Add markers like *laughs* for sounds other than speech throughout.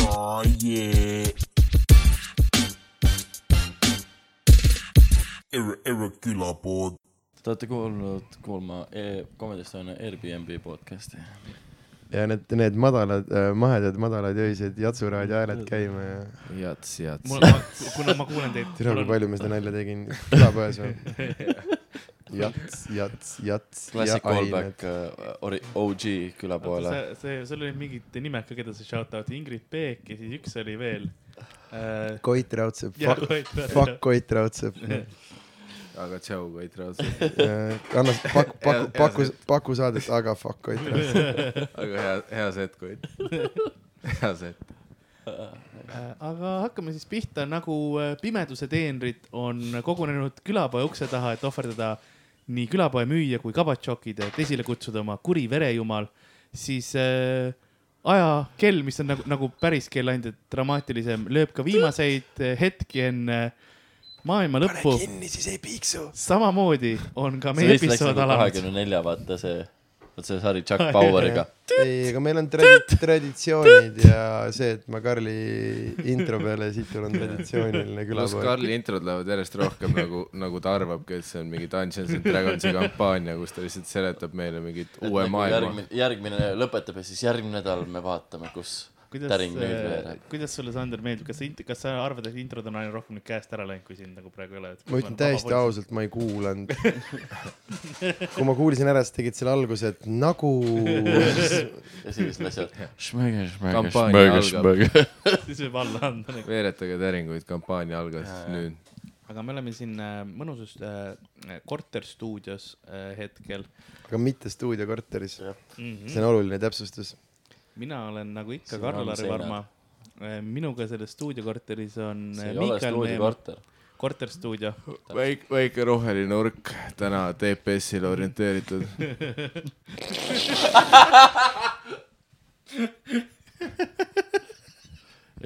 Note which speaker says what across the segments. Speaker 1: Oh yeah. Ir- Irregular board.
Speaker 2: Te olete kuulnud kuulma e Comedy Estonia Airbnb podcast'i .
Speaker 3: ja need , need madalad , mahedad , madalad öised Jatsuraadio hääled käima ja
Speaker 4: jats , jats
Speaker 5: mul , ma , kuna ma kuulen teid .
Speaker 3: tere , kui
Speaker 5: *laughs*
Speaker 3: palju ma seda nalja tegin külapoes või ? jats , jats , jats .
Speaker 2: Classic callback äh, ori- , OG külapoole .
Speaker 5: see , see , seal oli mingid nimed ka , keda sa shout out'i , Ingrid Peek ja siis üks oli veel äh, .
Speaker 3: Koit Raudsepp , fuck , fuck Koit Raudsepp .
Speaker 4: aga tšau , Koit Raas .
Speaker 3: annas , Äh, paku , paku , paku , paku saadet , aga fuck Koit Raudsepp .
Speaker 4: aga hea , hea set ,
Speaker 5: *laughs*
Speaker 4: Koit . hea set .
Speaker 5: Äh, aga hakkame siis pihta , nagu äh, pimeduse teenrid on kogunenud külapoe ukse taha , et ohverdada nii külapoe müüja kui kabatšokid , et esile kutsuda oma kuri verejumal , siis äh, ajakell , mis on nagu , nagu päris kell ainult , et dramaatilisem , lööb ka viimaseid äh, hetki enne maailma lõppu .
Speaker 3: kinni , siis ei piiksu .
Speaker 5: samamoodi on ka
Speaker 2: see
Speaker 5: meie
Speaker 2: vist läks
Speaker 5: episood
Speaker 2: nagu
Speaker 5: alanud .
Speaker 2: kahekümne nelja , vaata see , vot see sari Chuck Poweriga .
Speaker 3: ei , aga meil on tradi- , traditsioonid ja see , et ma Karli intro peale siit tulen traditsiooniline
Speaker 4: pluss
Speaker 3: külapoe .
Speaker 4: Karli introd lähevad järjest rohkem nagu , nagu ta arvabki , et see on mingi Dungeons and Dragonsi kampaania , kus ta lihtsalt seletab meile mingit uue maailma .
Speaker 2: Nagu järgmine , järgmine lõpetab ja siis järgmine nädal me vaatame , kus
Speaker 5: kuidas äh,
Speaker 2: täring nüüd , veereb .
Speaker 5: kuidas sulle , Sander , meeldib , kas sa , kas sa arvad , et introd on aina rohkem nüüd käest ära läinud , kui sind nagu praegu ei ole ?
Speaker 3: ma ütlen täiesti ausalt , ma ei kuulanud . *laughs* kui ma kuulsin ära , siis tegid selle alguse , et nagu
Speaker 2: ja siis
Speaker 5: *laughs*
Speaker 2: läksid šmõge , šmõge ,
Speaker 4: Kampaania
Speaker 2: šmõge ,
Speaker 4: algab.
Speaker 2: šmõge .
Speaker 5: siis võib alla anda nagu. .
Speaker 4: veeretage täringuid , kampaania algas nüüd .
Speaker 5: *laughs* aga me oleme siin äh, mõnusas äh, korterstuudios äh, hetkel
Speaker 3: aga mitte stuudiokorteris .
Speaker 5: mm .
Speaker 3: see on oluline täpsustus .
Speaker 5: mina olen nagu ikka
Speaker 2: Siin on
Speaker 5: Karl-Lari
Speaker 2: seinad.
Speaker 5: Varma . minuga selles stuudiokorteris on
Speaker 2: see
Speaker 5: äh,
Speaker 2: ei ole
Speaker 5: Miikael Neem ,
Speaker 2: stuudiokorter .
Speaker 5: korterstuudio . *laughs*
Speaker 4: väike , väike roheline urk täna TPS-ile orienteeritud .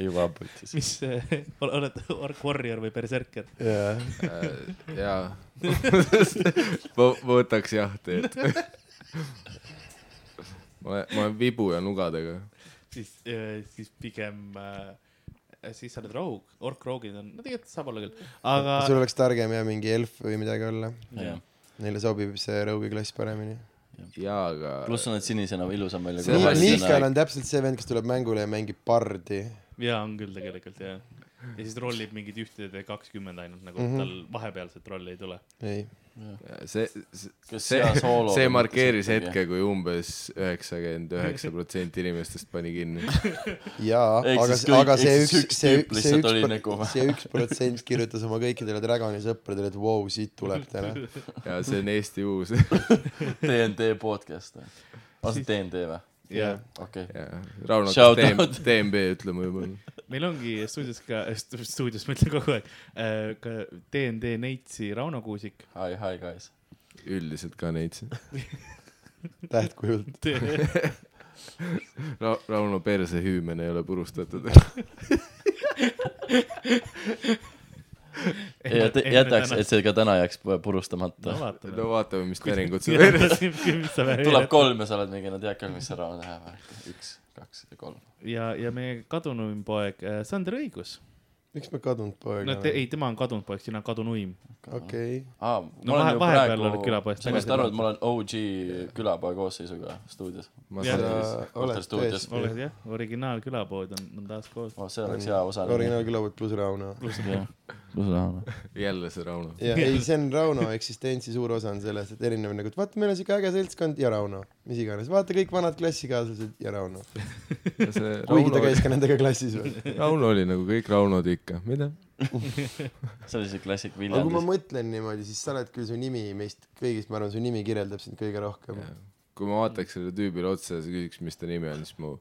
Speaker 2: juba putis .
Speaker 5: mis äh, , *laughs* oled Ork Warrior või Berserker ?
Speaker 3: jaa .
Speaker 4: jaa . *laughs* ma , ma võtaks jah teed . *laughs* ma , ma olen vibu ja nugadega .
Speaker 5: siis , siis pigem , siis sa oled roog , Ork roogid on , no tegelikult saab olla küll , aga
Speaker 3: sul oleks targem ja mingi elf või midagi olla .
Speaker 2: jah ,
Speaker 3: Neile sobib see Rogue'i klass paremini .
Speaker 4: jaa , aga
Speaker 2: pluss on nad sinisena ilusam välja .
Speaker 4: See on hästi
Speaker 3: Miikal on täpselt see vend , kes tuleb mängule ja mängib bardi .
Speaker 5: jaa , on küll tegelikult jah . ja siis rollib mingid ühtede kakskümmend ainult nagu mm ,
Speaker 3: Mhm.
Speaker 5: -hmm. tal vahepealset rolli ei tule .
Speaker 3: ei .
Speaker 4: see , see ,
Speaker 2: Kas hea
Speaker 4: see,
Speaker 2: soolo
Speaker 4: see
Speaker 2: on
Speaker 4: markeeris
Speaker 2: mõttes ikkagi?
Speaker 4: hetke , kui umbes üheksakümmend üheksa protsenti inimestest pani kinni .
Speaker 3: jaa ,
Speaker 2: Ehk
Speaker 3: aga
Speaker 2: siis , kõik-
Speaker 3: aga see
Speaker 2: ehk siis , üks
Speaker 3: üks see
Speaker 2: tüüp ,
Speaker 3: see
Speaker 2: lihtsalt oli
Speaker 3: üks
Speaker 2: nagu- ,
Speaker 3: *laughs* see üks protsent kirjutas oma kõikidele Dragoni sõpradele , et vau , siit tuleb täna .
Speaker 4: ja see on Eesti uus .
Speaker 2: *laughs* DND podcast või ? on see DND või ?
Speaker 5: jah .
Speaker 2: okei .
Speaker 4: Rauno
Speaker 2: Shout
Speaker 4: teeb
Speaker 2: out. ,
Speaker 4: teeb B ütleme juba .
Speaker 5: meil ongi stuudios ka , stuudios *laughs* ma ütlen kogu aeg , ka DND Neitsi Rauno Kuusik .
Speaker 2: Hi , hi guys .
Speaker 4: üldiselt ka neid siin .
Speaker 3: tähtkujult .
Speaker 4: Ra- , Rauno perse hüümen ei ole purustatud .
Speaker 2: ja te- jätaks , et see ka täna jääks pu- purustamata
Speaker 5: no . vaatame *laughs*
Speaker 4: no . vaatame , mis täringud see veel .
Speaker 2: tuleb
Speaker 5: tuleb
Speaker 2: kolm ja sa oled mingi , no tead küll , mis see raam läheb . üks , kaks ja kolm .
Speaker 5: ja , ja meie kadunuim poeg äh, Sander Õigus .
Speaker 3: miks ma kadunud poeg
Speaker 5: no te, ei , tema on kadunud poeg , sina kadunuim .
Speaker 3: okei ,
Speaker 2: aa , ma
Speaker 5: No
Speaker 2: olen
Speaker 5: vahe-
Speaker 2: ju
Speaker 5: vahepeal
Speaker 2: praegu
Speaker 5: oled , külapoest
Speaker 2: sa
Speaker 5: tagasi
Speaker 2: saad aru , et ma olen OG külapoe koosseisuga stuudios .
Speaker 4: ma
Speaker 5: Jah.
Speaker 4: saan
Speaker 3: Sa
Speaker 4: aru .
Speaker 3: oled
Speaker 2: stuudios .
Speaker 3: tõesti.
Speaker 5: oled jah , originaalkülapood on , on taas koos .
Speaker 2: oh , see oleks hea osa .
Speaker 3: originaalkülapott pluss Rauno .
Speaker 4: jälle see Rauno .
Speaker 3: ja ei , see on Rauno eksistentsi suur osa on selles , et erinev nagu , et vaata , meil on siuke äge seltskond ja Rauno , mis iganes , vaata kõik vanad klassikaaslased ja Rauno .
Speaker 4: see
Speaker 3: kuigi ta
Speaker 4: Rauno ,
Speaker 3: käis ka nendega klassis veel .
Speaker 4: Rauno oli nagu kõik Raunod ikka , mida ?
Speaker 2: see oli see klassik
Speaker 3: aga kui ma
Speaker 2: Viljandis .
Speaker 3: mõtlen niimoodi , siis sa oled küll , su nimi meist kõigist , ma arvan , su nimi kirjeldab sind kõige rohkem .
Speaker 4: kui ma vaataks sellele tüübile otsa ja küsiks , mis ta nimi on , siis mu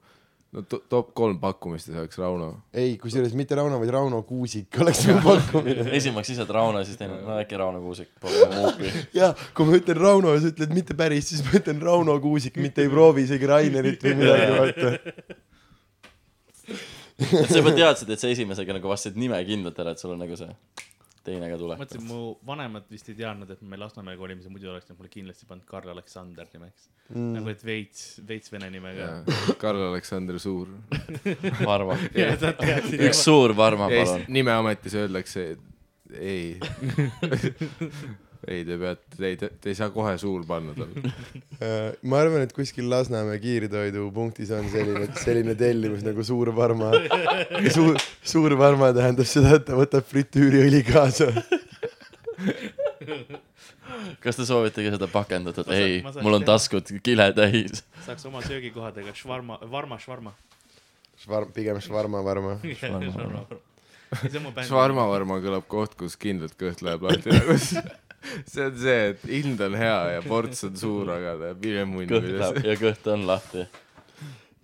Speaker 4: no to- top kolm pakkumist ei saaks Rauno .
Speaker 3: ei , kusjuures mitte Rauno , vaid Rauno Kuusik oleks mu
Speaker 2: *laughs*
Speaker 3: pakkumine .
Speaker 2: esimaks lihtsalt Rauno , siis teine , no äkki Rauno Kuusik . ma
Speaker 3: jah , kui ma ütlen Rauno ja sa ütled mitte päris , siis ma ütlen Rauno Kuusik , mitte ei proovi isegi Rainerit või midagi , vaata .
Speaker 2: et sa juba teadsid , et sa esimesega nagu vastasid nime kindlalt ära , et sul on nagu see teine ka
Speaker 5: mõtlesin ,
Speaker 2: tuletab .
Speaker 5: mu vanemad vist ei teadnud , et me Lasnamäega olime , siis muidu oleks nad mulle kindlasti pannud Karl Aleksander nimeks mm. . nagu et veits , veits vene nimega . *laughs*
Speaker 4: Karl-Aleksander Suur .
Speaker 2: Varva .
Speaker 5: ja ta teadsid
Speaker 2: üks . suur Varma , Ah, palun
Speaker 4: Eesti . nimeametis öeldakse , et ei . ei , te peate , te ei , te ei saa kohe suur panna talle .
Speaker 3: Äh, ma arvan , et kuskil Lasnamäe kiirtoidupunktis on selline , selline tellimus nagu Suur Varma . suur , Suur Varma tähendab seda , et ta võtab fritüüriõli kaasa .
Speaker 2: kas te soovite ka seda pakendatud ?
Speaker 5: Ma saan-
Speaker 2: ei
Speaker 5: ma , saan
Speaker 2: mul on
Speaker 5: teha.
Speaker 2: taskud kile täis .
Speaker 5: saaks oma söögikohadega švarma , varma švarma .
Speaker 3: Švarm , pigem Švarma Varma .
Speaker 5: *laughs* see on mu bänd .
Speaker 4: Švarmavarma kõlab koht , kus kindlalt kõht läheb lahti nagu s- see on see , et hind on hea ja ports on suur , aga ta jääb hiljem munni
Speaker 2: kõht läheb
Speaker 4: üles .
Speaker 2: ja kõht on lahti .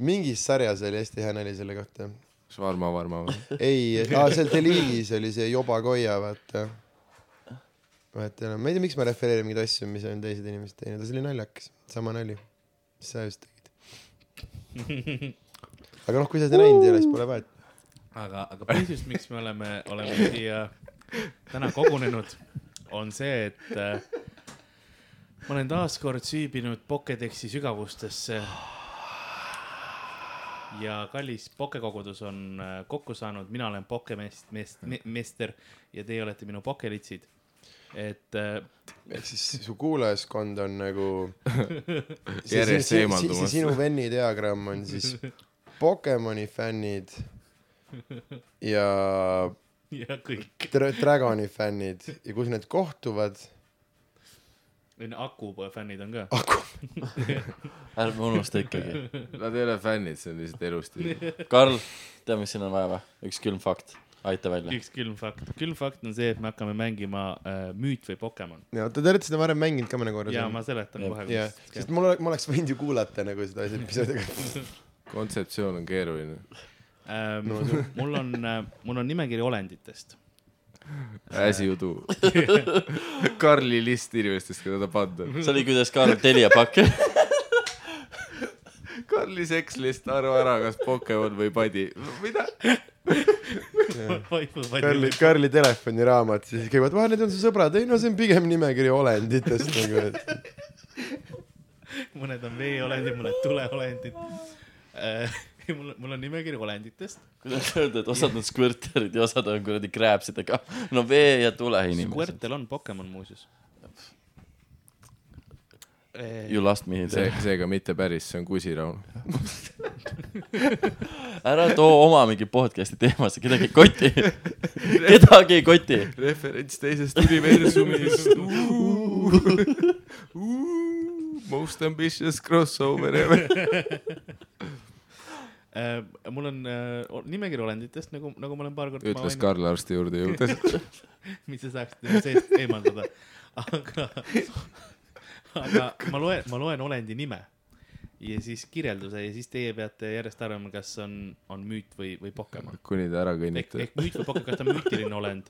Speaker 3: mingis sarjas oli hästi hea nali selle kohta .
Speaker 4: Švarmavarma või ?
Speaker 3: ei , seal Deliigis oli see Joba Koia , vaata . vaata enam , ma ei tea , miks ma refereerin mingeid asju , mis on teised inimesed teinud , aga see oli naljakas , sama nali , mis sa just tegid . aga noh , kui sa seda näinud ei ole , siis pole vahet .
Speaker 5: aga , aga põhjus , miks me oleme , oleme siia täna kogunenud , on see , et äh, ma olen taas kord süübinud Pokedexi sügavustesse . ja kallis pokekogudus on äh, kokku saanud , mina olen pokemeest , meest , meister ja teie olete minu pokelitsid . et äh,
Speaker 3: ehk siis su kuulajaskond on nagu
Speaker 4: Järjest
Speaker 3: see- see-
Speaker 4: eemaldumas.
Speaker 3: see sinu venni diagramm on siis Pokemoni fännid ja
Speaker 5: ja kõik ,
Speaker 3: dra- Dragoni fännid ja kus need kohtuvad ,
Speaker 5: Aku fännid on ka .
Speaker 3: aku ,
Speaker 2: ärme unusta ikkagi .
Speaker 4: Nad ei ole fännid , see on lihtsalt elustiil .
Speaker 2: Karl , tead , mis siin on vaja või ? üks külm fakt , aita välja .
Speaker 5: üks külm fakt , külm fakt on see , et me hakkame mängima äh, müüt või Pokemon
Speaker 3: oota te olete seda varem mänginud ka mõne korra ?
Speaker 5: ja ma seletan
Speaker 2: Jah.
Speaker 5: kohe .
Speaker 3: jah , sest mul oleks , ma oleks võinud ju kuulata nagu seda asja , mis oli , *laughs* aga
Speaker 4: kontseptsioon on keeruline .
Speaker 5: Ähm, mul on , mul on nimekiri olenditest .
Speaker 4: äsiudu . Karli list inimestest , keda ta pannud on .
Speaker 2: see oli , kuidas Karl Telia pakk . *laughs*
Speaker 4: Karli seks list , arva ära , kas Pokemon või padi . mida ?
Speaker 5: *laughs*
Speaker 3: Karli , Karli telefoniraamat , siis käivad , vahel need on su sõbrad , ei no see on pigem nimekiri olenditest nagu , et
Speaker 5: mõned on veeolendid , mõned tuleolendid äh, . *laughs* mul , mul on nimekiri olenditest .
Speaker 2: kuidas öelda , et osad on skvõrterid ja osad on kuradi krääpsidega . no vee ja tule inimesed .
Speaker 5: Squirtle on Pokemon muuseas .
Speaker 2: You lost me
Speaker 4: see
Speaker 2: there .,
Speaker 4: seega mitte päris , see on kusiraun .
Speaker 2: ära too oma mingi podcast'i teemasse , kedagi ei koti . kedagi ei koti .
Speaker 4: referents teisest *laughs* universumist . Most ambitious crossover ever .
Speaker 5: Äh, mul on äh, o- nimekiri olenditest nagu , nagu ma olen paar korda .
Speaker 4: *laughs* ütles . Karl arsti juurde jõudes .
Speaker 5: mis sa saaksid enda seest eemaldada . aga , aga ma loen , ma loen olendi nime ja siis kirjelduse ja siis teie peate järjest arvama , kas on , on müüt või , või Pokemon .
Speaker 4: kuni ta ära
Speaker 5: ehk ,
Speaker 4: kõnnitab .
Speaker 5: ehk müüt või Pokemon , kas ta on müütiline
Speaker 3: *laughs*
Speaker 5: olend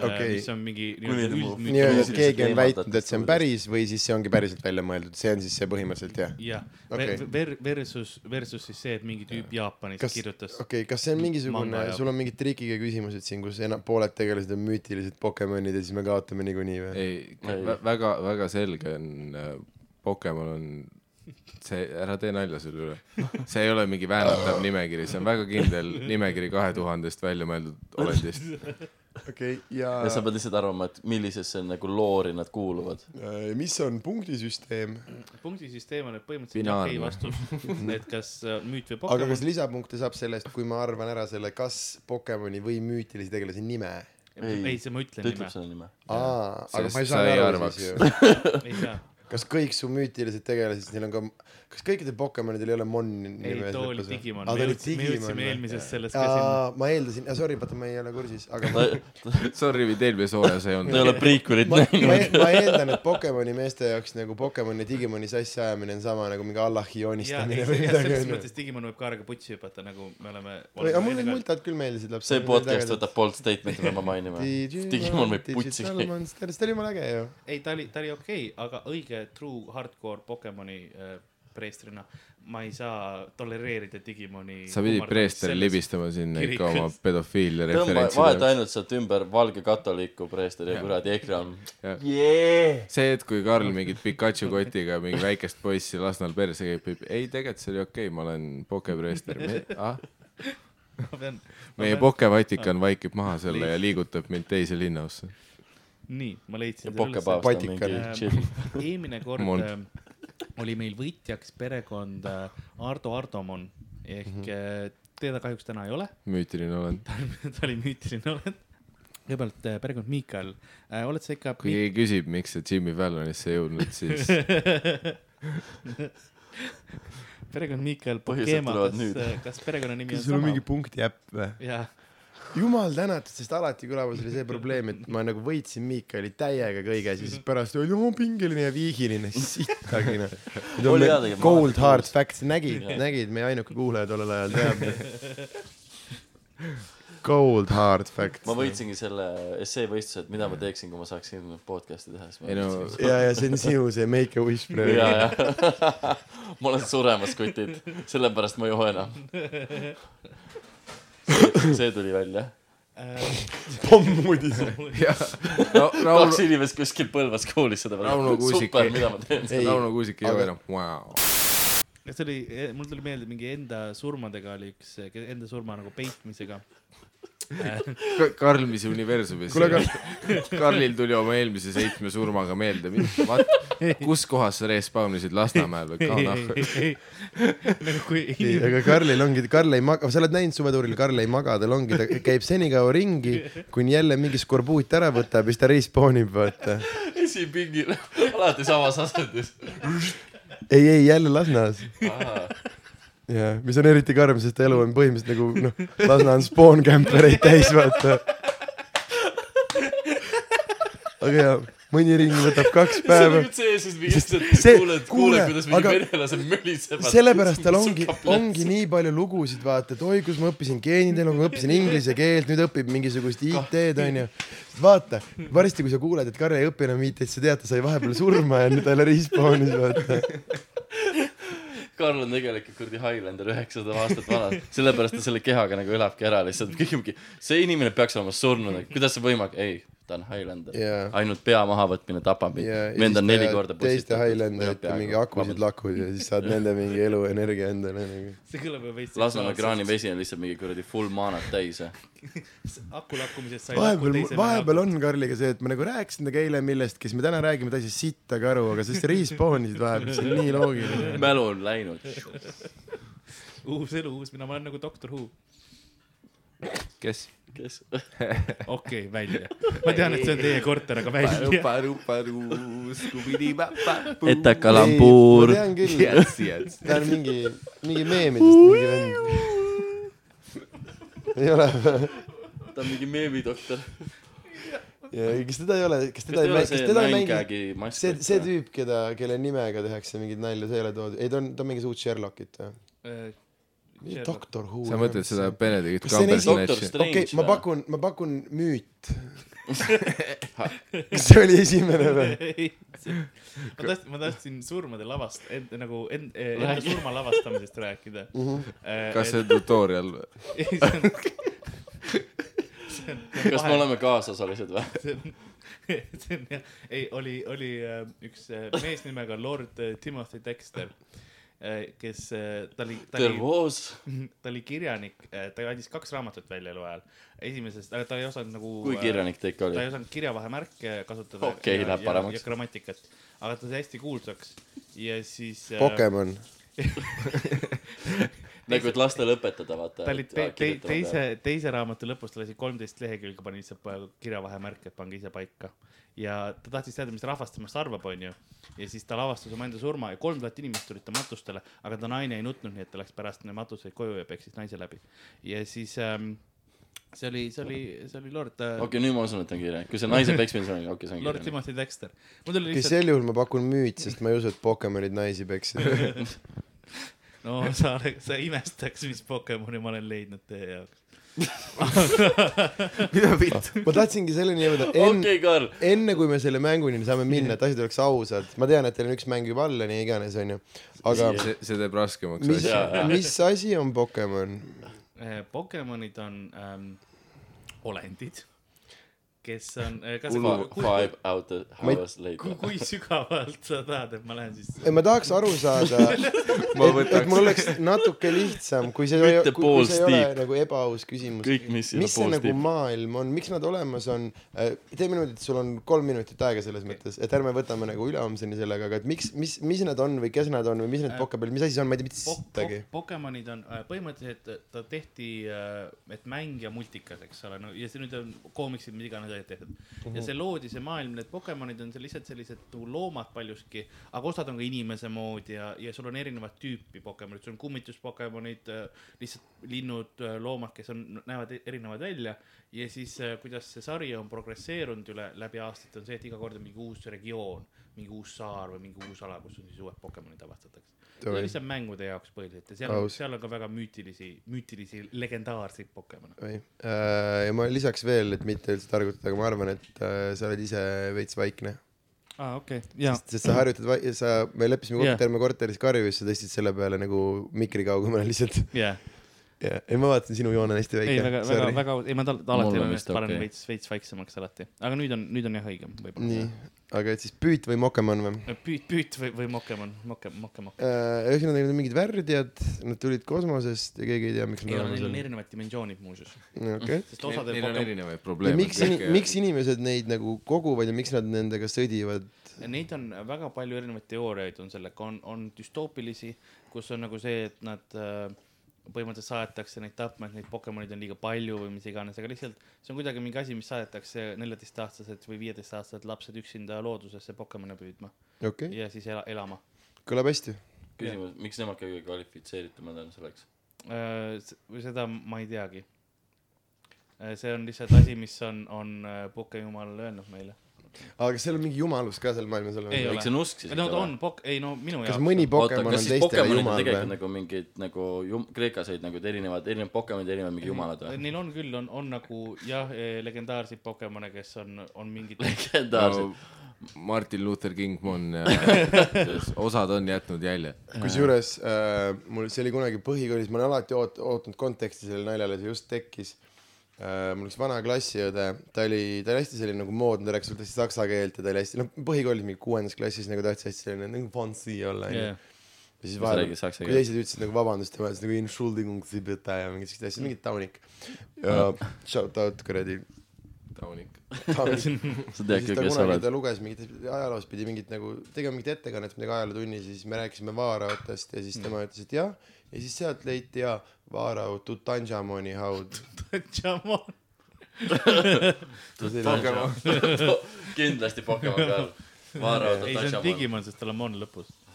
Speaker 5: Äh,
Speaker 3: Okei.
Speaker 5: mis on mingi
Speaker 2: Kuni
Speaker 5: nii-öelda
Speaker 2: tema-
Speaker 3: nii-öelda
Speaker 5: üldmüüt
Speaker 2: Füüsiliselt .
Speaker 3: keegi on
Speaker 2: eemaldatud
Speaker 3: väitnud , et see on päris või siis see ongi päriselt välja mõeldud , see on siis see põhimõtteliselt jah .
Speaker 5: jah ,
Speaker 3: Okei.
Speaker 5: ver- , versus , versus siis see , et mingi tüüp Jaapanis
Speaker 3: kas , okei
Speaker 5: kirjutas
Speaker 3: okay, , kas see on mingisugune
Speaker 5: Manga ja- ,
Speaker 3: sul on mingid trikiga küsimused siin , kus enam pooled tegelased on müütilised Pokemonid ja siis me kaotame niikuinii või ?
Speaker 4: ei
Speaker 2: Ei. ,
Speaker 4: väga , väga selge on , Pokemon on , see , ära tee nalja selle üle . see ei ole mingi väänatav nimekiri , see on väga kindel nimekiri kahe tuhandest välja mõeldud olendist .
Speaker 3: okei okay, , ja,
Speaker 2: ja sa pead lihtsalt arvama , et millisesse nagu loori nad kuuluvad .
Speaker 3: äh, mis on punktisüsteem ,
Speaker 5: punktisüsteem on nüüd põhimõtteliselt jah ,
Speaker 4: Binaarne.
Speaker 5: ei vastus ,
Speaker 4: *laughs*
Speaker 5: et kas äh, müüt või
Speaker 3: aga kas
Speaker 5: Pokemon .
Speaker 3: lisapunkte saab selle eest , kui ma arvan ära selle , kas Pokemoni või müütilise tegelase nime ?
Speaker 2: Ei.
Speaker 5: ei , see ma
Speaker 2: ta
Speaker 5: ütlen
Speaker 2: ütleb
Speaker 5: nime ,
Speaker 2: selle nime .
Speaker 3: aa , aga
Speaker 4: Sest
Speaker 3: ma ei
Speaker 4: sa ei
Speaker 3: saa aru
Speaker 4: arvaks.
Speaker 3: siis ju .
Speaker 5: ei saa .
Speaker 3: *laughs* kas kõik su müütilised tegelased , neil on ka , kas kõikidel Pokemonidel ei ole Mon nime
Speaker 5: ei ,
Speaker 3: ees
Speaker 5: too oli
Speaker 3: lõpus või?
Speaker 5: Digimon ,
Speaker 3: Aa,
Speaker 5: me
Speaker 3: ta oli
Speaker 5: jõudsime , jõudsime
Speaker 3: või?
Speaker 5: eelmisest sellest ka sinna .
Speaker 3: Aa, ma eeldasin , sorry , vaata , ma ei ole kursis ,
Speaker 5: *laughs*
Speaker 3: aga
Speaker 2: ta
Speaker 3: ma ,
Speaker 4: Sorry , mind eelmises hooajas ei
Speaker 2: ta ei
Speaker 4: olnud .
Speaker 2: ole prequel'it *laughs*
Speaker 3: ma, ma, e-
Speaker 2: näinud .
Speaker 3: ma eeldan , et Pokemoni meeste jaoks nagu Pokemoni ja Digimoni sassi ajamine on sama nagu mingi Allahi
Speaker 5: ja ,
Speaker 3: joonistamine
Speaker 5: ei ,
Speaker 3: või midagi
Speaker 5: selles
Speaker 3: onju .
Speaker 5: mõttes Digimon võib kaarega putsi hüpata , nagu me oleme .
Speaker 3: aga mul need multad küll meeldisid lapsena .
Speaker 2: see podcast võtab poolt statement'i , me mainime . Digimon võib putsi käia .
Speaker 3: käia . see oli jumala äge ju .
Speaker 5: ei , ta oli , ta oli okei okay, , aga õige true hardcore Pokemoni äh, preestrina ma ei saa tolereerida Digimoni .
Speaker 4: sa pidid preester . libistama sinna ikka oma
Speaker 5: kirikus.
Speaker 4: pedofiilia
Speaker 2: tõmba , vahet
Speaker 4: referentsi .
Speaker 2: ainult sealt ümber valge katoliku preester ja kuradi EKRE on .
Speaker 4: see hetk , kui Karl mingit Pikachu kotiga mingi väikest poissi Lasnamäel perse käib , ei tegelikult see oli okei okay, , ma olen pokepreester . Ah,
Speaker 5: ma pean ,
Speaker 4: meie pokevatikan vaikib maha selle ja liigutab mind teise linnaosse .
Speaker 5: nii , ma leidsin Ehm,
Speaker 2: ja . pokepaavst on mingi
Speaker 3: Vatikan.
Speaker 2: chill .
Speaker 5: eelmine kord
Speaker 4: Mond.
Speaker 5: ähm, oli meil võitjaks perekond äh, Ardo Ardomon ehk mm -hmm. teda kahjuks täna ei ole , *laughs*
Speaker 4: müütiline olend .
Speaker 5: ta oli müütiline olend . kõigepealt äh, perekond Miikal , oled sa ikka
Speaker 4: kui keegi küsib , miks sa Jimmy Fallonisse ei jõudnud , siis
Speaker 3: *laughs*
Speaker 5: perekond Miikal
Speaker 2: Põhjused
Speaker 5: Pokema ,
Speaker 2: tulevad
Speaker 5: kas
Speaker 2: nüüd. ,
Speaker 5: kas perekonnanimi on
Speaker 3: kas sul on
Speaker 5: sama
Speaker 3: mingi ? punkti äpp või ?
Speaker 5: jah ,
Speaker 3: jumal tänatud , sest alati külapäeval oli see probleem , et ma nagu võitsin Miikali täiega kõiges ja siis pärast oli oo pingeline ja viigiline , noh." sittagine .
Speaker 2: *laughs* Oli hea tegelikult,
Speaker 3: Cold
Speaker 2: ma
Speaker 3: hard
Speaker 2: olen
Speaker 3: facts , nägid , nägid , meie ainuke kuulaja tollel ajal teab .
Speaker 2: *laughs*
Speaker 3: Cold hard facts .
Speaker 2: ma . võitsingi selle essee võistluse , et mida ma teeksin , kui ma saaksin podcast'i teha , siis ma
Speaker 4: ei no
Speaker 2: võitsin.
Speaker 3: ja , ja see on sinu see make a wish praegu
Speaker 2: ja , ja *laughs* ma olen suremas kutid , sellepärast ma ei joo enam . see tuli välja .
Speaker 5: Äh, *laughs*
Speaker 3: pommuudis .
Speaker 4: no, Rauno
Speaker 2: kaks , inimest kuskil Põlvas koolis seda
Speaker 4: Rauno Kuusik
Speaker 2: super
Speaker 4: ei- ,
Speaker 2: mida ma teen .
Speaker 3: ei,
Speaker 4: Rauno Kuusik ei
Speaker 3: aga-
Speaker 4: ole enam wow. .
Speaker 5: see oli , mul tuli meelde mingi enda surmadega oli üks , enda surma nagu peitmisega .
Speaker 4: Karl , mis universumis
Speaker 3: Kuule, ?
Speaker 4: *laughs* Karlil tuli oma eelmise seitsme surmaga meelde ,
Speaker 3: *laughs*
Speaker 4: kus kohas sa respawnisid Lasnamäel või Kaanahvel ?
Speaker 5: *laughs* nagu kui
Speaker 3: ei ,
Speaker 5: inimene ,
Speaker 3: aga Karlil ongi , Karl ei maga , sa oled näinud suvetuuril , Karl ei maga , tal ongi , ta käib senikaua ringi , kuni jälle mingi skorbuut ära võtab ja siis ta respawn ib , vaata .
Speaker 2: esipingil , alati samas asendis .
Speaker 3: ei , ei jälle Lasnas
Speaker 2: see
Speaker 3: jaa , mis on eriti karm , sest elu on põhimõtteliselt nagu noh , Lasna on spawn campereid täis , vaata . aga jaa , mõni ring võtab kaks
Speaker 2: on
Speaker 3: päeva .
Speaker 2: nüüd see siis mingi , et
Speaker 3: see-
Speaker 2: kuuled ,
Speaker 3: kuule,
Speaker 2: kuuled , kuidas mingi
Speaker 3: aga-
Speaker 2: venelased mölisevad .
Speaker 3: sellepärast tal ongi , ongi nii palju lugusid , vaata , et oi , kus ma õppisin geenidele , ma õppisin inglise keelt , nüüd õpib mingisugust IT-d , onju . vaata , varsti kui sa kuuled , et Karl ei õpi enam IT-d , sa tead , ta sai vahepeal surma ja nüüd ta jälle respawn'is , vaata .
Speaker 2: Karl on tegelikult kuradi Highlander üheksasada aastat vana , sellepärast ta selle kehaga nagu elavki ära lihtsalt , kõik mingi , see inimene peaks olema surnud , aga kuidas see võimalik , ei , ta on Highlander
Speaker 3: Jaa.
Speaker 2: ainult pea mahavõtmine tapab mind
Speaker 3: ja , ja
Speaker 2: mind
Speaker 3: siis
Speaker 2: on neli korda
Speaker 3: tead teiste Highlanderite mingi akusid lakud ja siis saad nende mingi eluenergia endale nagu .
Speaker 5: see kõlab ju veits .
Speaker 2: Lasnamäe kraanivesi on lihtsalt mingi kuradi full maanat täis ja
Speaker 5: aku lakkumisest sai . nagu
Speaker 3: vahepeal , vahepeal . on Karliga see , et ma nagu rääkisin temaga eile millestki , siis me täna räägime täitsa sittagi aru , aga sa lihtsalt respawn'isid vahepeal , see on nii loogiline .
Speaker 2: mälu on läinud .
Speaker 5: uus elu , uus mina , ma olen nagu doktor Who .
Speaker 4: kes ?
Speaker 2: kes ?
Speaker 5: okei okay, , välja . ma tean , et see on teie korter , aga välja .
Speaker 4: et
Speaker 2: etakalambuur
Speaker 3: ma . tean küll ,
Speaker 4: yes , yes .
Speaker 3: ta on mingi , mingi meemidest mingi vend . ei ole või ?
Speaker 2: ta on mingi meemidoktor .
Speaker 3: kas teda ei ole , kas
Speaker 2: kas ta
Speaker 3: teda
Speaker 2: ei ole
Speaker 3: ei mängi , kas
Speaker 2: see
Speaker 3: teda ei mängi ,
Speaker 2: nine-gag'i mask
Speaker 3: see ,? see tüüp , keda , kelle nimega tehakse mingeid nalju , see ei ole toodud , ei ta on , ta mängis uut Sherlockit või ? doktor Who .
Speaker 4: sa mõtled seda ? Benedict
Speaker 3: Kas see on esimene-
Speaker 4: Cumberbatchi ?
Speaker 2: Strange
Speaker 3: okei , ma
Speaker 2: või?
Speaker 3: pakun , ma pakun müüt . kas see oli esimene
Speaker 5: *laughs*
Speaker 3: või ?
Speaker 5: ma tahtsin , ma tahtsin surmade lavast , enda nagu end, , enda surma lavastamisest rääkida mm .
Speaker 3: Mhm.
Speaker 5: -hmm.
Speaker 4: kas see on tutorial või ?
Speaker 5: *laughs* ei , see on ,
Speaker 2: kas me oleme kaasosalised või ?
Speaker 5: see on , *laughs* see on jah , ei , oli , oli äh, üks äh, mees nimega Lord äh, Timothy Dexter , kes , ta oli , ta
Speaker 2: There
Speaker 5: oli ,
Speaker 2: was ,
Speaker 5: ta oli kirjanik , ta andis kaks raamatut välja elu ajal . esimesest , ta ei osanud nagu .
Speaker 2: kui kirjanik ta ikka
Speaker 5: ta
Speaker 2: oli
Speaker 5: ei ? osanud kirjavahemärke kasutada .
Speaker 2: Okei, läheb paremaks.
Speaker 5: ja grammatikat , aga ta sai hästi kuulsaks ja siis . eh,
Speaker 3: Pokemon .
Speaker 2: nagu , et lastele õpetada , vaata .
Speaker 5: ta oli te te teise , teise raamatu lõpus , ta lasi kolmteist lehekülge , pani lihtsalt pa- kirjavahemärke , et pange ise paika . ja ta tahtis teada , mis rahvas temast arvab , onju . ja siis ta lavastas omaenda surma ja kolm tuhat inimest tulid ta matustele , aga ta naine ei nutnud , nii et ta läks pärast neid matuseid koju ja peksis naise läbi . ja siis ähm, see oli , see oli , see oli Lord äh,
Speaker 2: okei okay, , nüüd ma usun , et on kirjanik , kui see naise peksmine on , okei , see on
Speaker 5: Lord
Speaker 2: kirjanik .
Speaker 5: Timothy Dexter . mul tuli
Speaker 3: okei ,
Speaker 5: lihtsalt ,
Speaker 3: sel juhul ma pakun müüt , sest ma ei usu , et Pokemonid naisi peksid .
Speaker 5: no sa , sa imestaks , mis Pokemoni ma olen leidnud teie jaoks .
Speaker 4: mida vittu ?
Speaker 3: ma tahtsingi selleni jõuda en...
Speaker 2: okei , Karl ,
Speaker 3: enne kui me selle mänguni saame minna , et asjad oleks ausad , ma tean , et teil on üks mäng juba all ja nii iganes onju , aga
Speaker 4: see , see teeb raskemaks
Speaker 3: mis
Speaker 4: asja .
Speaker 2: Jaa. ,
Speaker 3: mis asi on Pokemon ?
Speaker 5: Äh, Pokemonid on ähm, olendid , kes on äh, .
Speaker 2: five out the
Speaker 3: Ma ei-
Speaker 2: hours later .
Speaker 5: kui sügavalt sa tahad , et ma lähen siis ?
Speaker 3: ma tahaks aru saada , et , et
Speaker 4: ma
Speaker 3: mul
Speaker 4: võtaks ,
Speaker 3: oleks natuke lihtsam , kui see ,
Speaker 2: Mitte
Speaker 3: kui see ei ole
Speaker 2: poolstiik.
Speaker 3: nagu ebaaus küsimus .
Speaker 2: kõik , mis sinna
Speaker 3: mis see
Speaker 2: poole
Speaker 3: nagu
Speaker 2: tipp-
Speaker 3: maailm on , miks nad olemas on ? teeme niimoodi , et sul on kolm minutit aega selles mõttes , et ärme võtame nagu ülehomseni sellega , aga et miks , mis , mis nad on või kes nad on või mis
Speaker 5: Äh.
Speaker 3: need Pokemon , mis asi see on , ma ei tea mitte
Speaker 5: Pok-
Speaker 3: sittagi .
Speaker 5: pok- Pokemonid on äh, põhimõtteliselt , ta tehti , et mäng ja multikas , eks ole , no ja see nüüd on koomiksid , mida iganes olid tehtud uh . -huh. ja see loodi , see maailm , need Pokemonid on seal lihtsalt sellised nagu loomad paljuski , aga osad on ka inimese moodi ja , ja sul on erinevat tüüpi Pokemonid , sul on kummituspokemonid , lihtsalt linnud , loomad , kes on , näevad e- erinevad välja . ja siis , kuidas see sari on progresseerunud üle , läbi aastate , on see , et iga kord on mingi uus regioon , mingi uus saar või mingi uus ala , kus on siis uued Pokemonid avastatakse . see on
Speaker 3: Davai.
Speaker 5: lihtsalt mängude jaoks põhiliselt ja seal ,
Speaker 3: Aus.
Speaker 5: seal on ka väga müütilisi , müütilisi legendaarseid Pokemone .
Speaker 3: või , ja ma lisaks veel , et mitte üldse targutada , aga ma arvan , et äh, sa oled ise veits vaikne ,
Speaker 5: aa , Ah, okei , jaa .
Speaker 3: sest sa harjutad , sa , me leppisime kokku
Speaker 5: Jah.
Speaker 3: yeah. terve korteris karju ja siis sa tõstsid selle peale nagu mikri kaugemale lihtsalt
Speaker 5: jaa ,
Speaker 3: yeah. . ei , ma vaatan , sinu joon on hästi
Speaker 5: ei väga ,
Speaker 3: väike ,
Speaker 5: väga ,
Speaker 3: sorry .
Speaker 5: väga , ei ma tal- alati
Speaker 2: Mul on
Speaker 5: olen
Speaker 2: vist
Speaker 5: vist panen
Speaker 2: okei.
Speaker 5: veits , veits vaiksemaks alati , aga nüüd on , nüüd on jah õigem
Speaker 3: nii
Speaker 5: võib-olla .,
Speaker 3: aga et siis püüt või mokemon või ?
Speaker 5: püüt , püüt või , või Pokemon , Moke , Moke , Moke .
Speaker 3: Äh, ühesõnaga , neil on mingid värdjad , nad tulid kosmosest ja keegi ei tea , miks
Speaker 5: ei
Speaker 3: nad
Speaker 5: ole ,
Speaker 3: olemas
Speaker 5: neil on
Speaker 3: on .
Speaker 5: erinevad dimensioonid muuseas ,
Speaker 3: okei .
Speaker 5: sest osadel
Speaker 4: Neil on
Speaker 5: Pokemon ,
Speaker 4: erinevaid
Speaker 3: ja
Speaker 4: probleeme .
Speaker 3: miks , miks inimesed neid nagu koguvad ja miks nad nendega sõdivad ?
Speaker 5: neid on väga palju erinevaid teooriaid on sellega , on , on düstoopilisi , kus on nagu see , et nad äh, põhimõtteliselt saadetakse neid tapma , et neid Pokemonid on liiga palju või mis iganes , aga lihtsalt see on kuidagi mingi asi , mis saadetakse neljateistaastased või viieteistaastased lapsed üksinda loodusesse Pokemone püüdma
Speaker 3: okei okay. ,
Speaker 5: ja siis ela, elama .
Speaker 3: kõlab hästi .
Speaker 2: küsimus , miks nemad kõige kvalifitseeritumad on selleks ?
Speaker 5: Äh, või seda ma ei teagi . see on lihtsalt asi , mis on , on äh, Pokejumal öelnud meile .
Speaker 3: aga kas seal on mingi jumalus ka seal maailmas
Speaker 5: Ei
Speaker 3: olemas ?
Speaker 5: ole.
Speaker 2: eks see on usk siis ?
Speaker 5: no ta on Pok- , ei no minu
Speaker 3: kas
Speaker 5: jaoks .
Speaker 3: mõni
Speaker 2: oota ,
Speaker 3: Pokemon
Speaker 2: kas
Speaker 3: on
Speaker 2: siis
Speaker 3: teistele
Speaker 2: Pokemonid on
Speaker 3: jumal
Speaker 2: tegelikult
Speaker 3: või ?
Speaker 2: nagu mingid nagu jum- , Kreekas olid nagu erinevad , erinevad Pokemonid , erinevad mingi jumalad või ?
Speaker 5: Neil on küll , on , on nagu jah , legendaarseid Pokemone , kes on , on *laughs* mingid
Speaker 2: legendaarsed .
Speaker 4: Martin Luther King on ja osad on jätnud jälje .
Speaker 3: kusjuures äh, mul , see oli kunagi põhikoolis , ma olen alati oot- , ootanud konteksti sellele naljale , see just tekkis äh, . mul üks vana klassiõde , ta oli , ta oli hästi selline nagu moodne , ta rääkis suht hästi saksa keelt ja ta oli hästi , noh , põhikoolis mingi kuuendas klassis nagu tahtis hästi selline nagu fancy olla , onju .
Speaker 5: yeah. .
Speaker 3: ja
Speaker 2: Ja
Speaker 3: siis
Speaker 2: sa
Speaker 3: vahepeal
Speaker 2: räägid , saksa
Speaker 3: kui
Speaker 2: keeles.
Speaker 3: teised ütlesid nagu vabandust , tema ütles nagu "Entschuldigung, Sie bitte" ja mingid siuksed asjad , mingi taunik . ja shout out kuradi
Speaker 4: taunik .
Speaker 2: *laughs*
Speaker 3: taunik .
Speaker 2: sa
Speaker 3: ja
Speaker 2: tead
Speaker 3: siis
Speaker 2: küll ,
Speaker 3: ta
Speaker 2: kes sa
Speaker 3: kunagi ,
Speaker 2: oled .
Speaker 3: ta luges mingit , ajaloos pidi mingit nagu , tegema mingit ettekannet midagi ajalootunnis ja siis me rääkisime Vaaraotast ja siis
Speaker 2: Mm.
Speaker 3: tema ütles , et jah . ja siis sealt leiti ja Vaaraot Tutankhamoni haud .
Speaker 5: *laughs* Jamon ,
Speaker 2: *laughs* kindlasti Pokemon Karl . Vaara
Speaker 5: ei see on
Speaker 2: oota ,
Speaker 5: Digimon , sest tal on Mon lõpus ,
Speaker 3: aa ,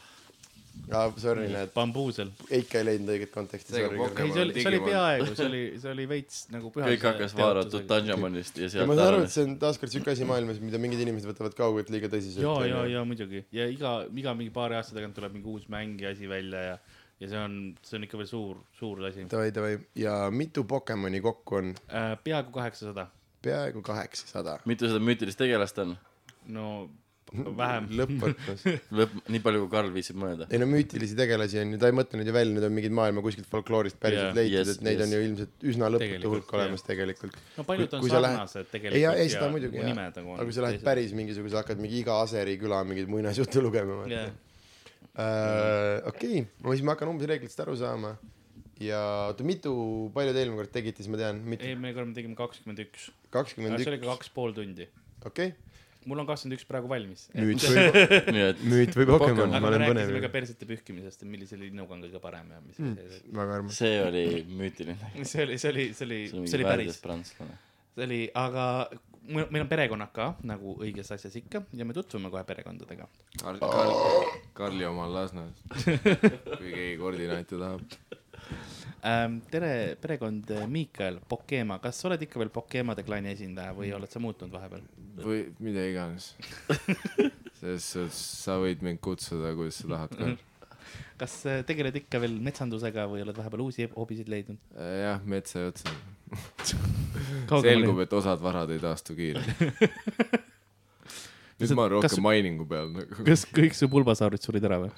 Speaker 3: Ah, sorry , näed ,
Speaker 5: bambuusel .
Speaker 3: ikka ei leidnud õiget konteksti ,
Speaker 4: Seega
Speaker 3: sorry .
Speaker 5: ei , see oli , see oli
Speaker 4: Digimon.
Speaker 5: peaaegu , see oli , see oli veits nagu püha .
Speaker 2: kõik hakkas Vaara oota . Dungeonist ja
Speaker 3: ja
Speaker 2: sealt
Speaker 3: ma saan aru , et
Speaker 2: arvanes .
Speaker 3: see on taaskord siuke asi maailmas , mida mingid inimesed võtavad kaugelt liiga tõsiselt .
Speaker 5: ja , ja , ja muidugi ja iga , iga mingi paari aasta tagant tuleb mingi uus mäng ja asi välja ja , ja see on , see on ikka veel suur , suur asi .
Speaker 3: davai , davai , ja mitu Pokemoni kokku on ?
Speaker 5: peaaegu kaheksasada ,
Speaker 3: peaaegu kaheksasada .
Speaker 2: mitu seda müütilist tegelast on ?
Speaker 5: no vähem .
Speaker 3: lõppotsus .
Speaker 2: lõpp , nii palju kui Karl viitsib
Speaker 3: *laughs*
Speaker 2: mõelda .
Speaker 3: ei no müütilisi tegelasi on ju , ta ei mõtle neid ju välja , need on mingid maailma kuskilt folkloorist päriselt yeah,
Speaker 5: Jaa.
Speaker 3: leitud
Speaker 2: Yes,
Speaker 3: yes, , et neid yes.
Speaker 2: yes.
Speaker 3: on ju ilmselt üsna lõputu
Speaker 5: Tegelikult,
Speaker 3: hulk olemas yeah. tegelikult .
Speaker 5: no paljud on
Speaker 3: Kui sa lähed-
Speaker 5: sarnased
Speaker 3: ei ,
Speaker 5: tegelikult .
Speaker 3: ei seda muidugi jah , aga kui sa lähed . päris mingisuguse , hakkad mingi iga aseri küla mingeid muinasjutte lugema vaata
Speaker 5: Yeah.
Speaker 3: yeah. . okei , no siis ma hakkan umbes reeglitest aru saama ja oota , mitu , palju te eelmine kord tegite , siis ma tean , mitu ,
Speaker 5: eelmine kord me tegime kakskümmend üks , aga
Speaker 3: kakskümmend
Speaker 5: see oli ka
Speaker 3: üks ,
Speaker 5: kaks pool tundi .
Speaker 3: okei .
Speaker 5: mul on kakskümmend üks praegu valmis .
Speaker 3: nüüd võib ,
Speaker 2: nii et
Speaker 3: nüüd võib Pokemon ,
Speaker 5: aga
Speaker 3: ma
Speaker 5: me
Speaker 3: olen
Speaker 5: rääkisime ka
Speaker 3: põnev . Hmm.
Speaker 5: persete pühkimisest ja millise linnuga on kõige parem ja mis mm.
Speaker 3: väga armas .
Speaker 2: see oli müütiline .
Speaker 5: see oli , see oli , see oli ,
Speaker 2: see oli
Speaker 5: see
Speaker 2: mingi
Speaker 5: oli päris
Speaker 2: värdjas , prantslane .
Speaker 5: see oli , aga meil meil on perekonnad ka nagu õiges asjas ikka ja me tutvume kohe perekondadega .
Speaker 4: Karli omal Lasnas . kui keegi koordinaate tahab .
Speaker 5: Ähm, tere , perekond äh, Miikael Pokema , kas sa oled ikka veel Pokemade klaani esindaja või oled sa muutunud vahepeal ?
Speaker 4: või mida
Speaker 5: *laughs*
Speaker 4: iganes . selles suhtes sa võid mind kutsuda , kuidas sa tahad ,
Speaker 5: Mhm.
Speaker 4: Karl .
Speaker 5: kas äh, tegeled ikka veel metsandusega või oled vahepeal uusi hobisid leidnud ?
Speaker 4: jah , metsa ja otsa . selgub , et osad varad ei taastu
Speaker 5: *laughs*
Speaker 4: kiirelt . nüüd ma olen
Speaker 5: Kas-
Speaker 4: rohkem miningu peal nagu .
Speaker 5: kas kõik su pulbasaurid surid ära või ?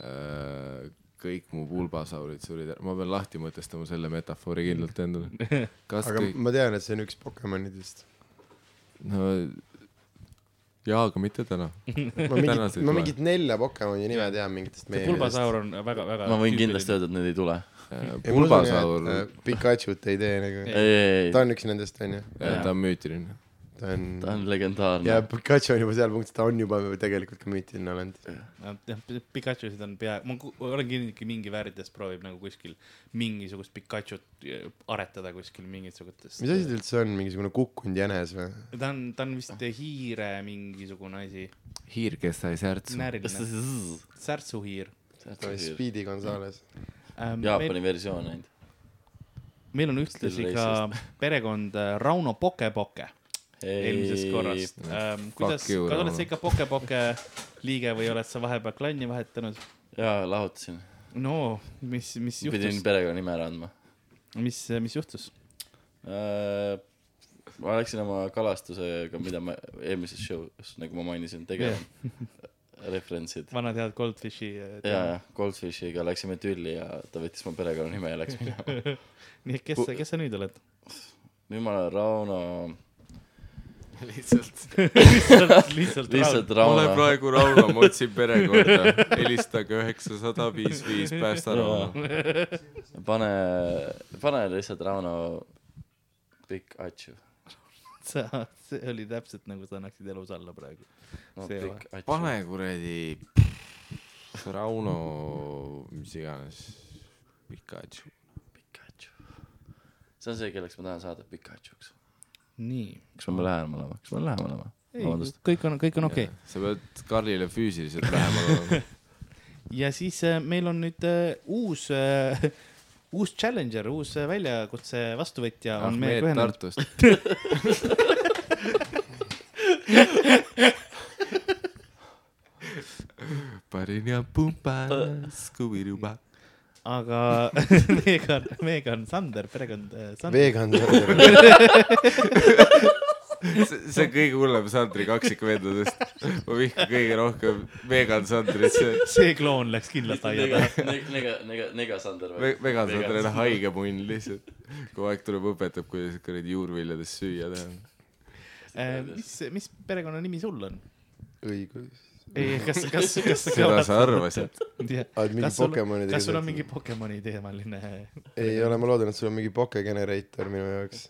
Speaker 4: Äh, kõik mu pulbasaurid surid ära , ma pean lahti mõtestama selle metafoori kindlalt
Speaker 5: *laughs*
Speaker 4: endale . kas
Speaker 3: aga
Speaker 4: kõik ,
Speaker 3: ma tean , et see on üks Pokemonidest .
Speaker 4: no jaa , aga mitte
Speaker 5: *laughs*
Speaker 4: täna . Äh,
Speaker 3: ma mingit
Speaker 4: Tänased ,
Speaker 3: ma
Speaker 4: ei
Speaker 3: mingit nelja Pokemoni nime tean mingitest
Speaker 5: see
Speaker 3: meemidest .
Speaker 5: pulbasaur on väga-väga .
Speaker 2: ma võin kindlasti . öelda , et need ei tule .
Speaker 4: pulbasaur ,
Speaker 3: äh, Pikachu't ei tee nagu .
Speaker 2: ei , ei ,
Speaker 3: ta on üks nendest , onju .
Speaker 4: äh, ta on müütiline .
Speaker 3: ta on
Speaker 2: ta on legendaarne
Speaker 3: ja . Pikachu on juba seal punktis , ta on juba tegelikult ka müütiline olend .
Speaker 5: Pikachusid on pea , ma ku- olen kindlasti mingi väärdes proovib nagu kuskil mingisugust Pikachut eh, aretada kuskil mingisugustest .
Speaker 3: mis asi ta üldse on , mingisugune kukkunud jänes või ?
Speaker 5: ta on , ta on vist hiire mingisugune asi ,
Speaker 4: hiir , kes sai
Speaker 2: kas
Speaker 4: särtsu .
Speaker 5: närviline ,
Speaker 2: ta
Speaker 5: särtsuhiir .
Speaker 2: siis
Speaker 3: Speedy Gonzales .
Speaker 2: Jaapani versioon ainult .
Speaker 5: meil on ühtlasi
Speaker 2: Still
Speaker 5: ka
Speaker 2: *laughs*
Speaker 5: perekond äh, Rauno Poke-Poke eelmisest korrast . kuidas ,
Speaker 4: you,
Speaker 5: kas oled
Speaker 4: Rauno.
Speaker 5: sa ikka Poke-Poke liige või oled sa vahepeal klanni vahetanud ?
Speaker 2: jaa , lahutasin .
Speaker 5: no mis , mis
Speaker 2: pidin
Speaker 5: juhtus ,
Speaker 2: perekonnanime ära andma .
Speaker 5: mis , mis juhtus ?
Speaker 2: Äh, ma läksin oma kalastusega , mida ma eelmises show's , nagu ma mainisin , tegema . referentsid .
Speaker 5: vanad head Goldfishi äh,
Speaker 2: ja , ja . Goldfishiga läksime tülli ja ta võttis mu perekonnanime ja läks minema .
Speaker 5: nii , kes sa , kes sa nüüd oled ?
Speaker 2: nüüd ma olen Rauno ,
Speaker 4: lihtsalt .
Speaker 5: lihtsalt , lihtsalt,
Speaker 2: lihtsalt
Speaker 4: ma olen
Speaker 2: Rauno .
Speaker 4: praegu Rauno , ma otsin perekorda . helistage üheksasada viis viis , päästa Rauno .
Speaker 2: pane , pane lihtsalt Rauno Pikachu .
Speaker 5: Rauno. sa , see oli täpselt nagu sa annaksid elus alla praegu .
Speaker 2: no
Speaker 5: See va-
Speaker 2: Pikachu .
Speaker 4: pane kuradi Rauno , mis iganes , Pikachu .
Speaker 2: Pikachu . see on see , kelleks ma tahan saada , Pikachuks .
Speaker 5: nii .
Speaker 2: kas ma pean lähemal olema , kas ma pean lähemal olema ? vabandust .
Speaker 5: kõik on , kõik on okei okay. .
Speaker 4: sa pead Karlile füüsiliselt lähemal olema .
Speaker 5: ja siis äh, meil on nüüd äh, uus äh, , *laughs* uus challenger , uus äh, väljakutse vastuvõtja on
Speaker 4: Ahmed
Speaker 5: meiega ühenenud .
Speaker 4: Tartust . parin ja pumpan , skubiruba .
Speaker 5: aga *laughs* meiega on , meiega on Sander , perekond äh, Sander .
Speaker 3: vegan .
Speaker 2: *laughs*
Speaker 4: see on kõige hullem Sandri kaksikvendadest . ma vihkan kõige rohkem vegan Sandrit , see
Speaker 5: see kloon läks kindlalt aia
Speaker 2: nega
Speaker 5: taha .,
Speaker 2: nega , nega , nega Sander
Speaker 4: ve- vegan Sander on haige munn lihtsalt . kogu aeg tuleb , õpetab , kuidas kuradi juurviljadest süüa teha .
Speaker 5: Äh, mis , mis perekonnanimi sul on ?
Speaker 3: õigus .
Speaker 5: kas , kas , kas
Speaker 4: seda
Speaker 5: *laughs*
Speaker 4: sa arvasid .
Speaker 5: jah ,
Speaker 3: oled mingi
Speaker 5: kas sul ,
Speaker 3: Pokemonidega
Speaker 5: kas sul on
Speaker 3: seotud?
Speaker 5: mingi Pokemoni teemaline äh,
Speaker 3: ei ole , ma loodan , et sul on mingi Poke generator minu jaoks .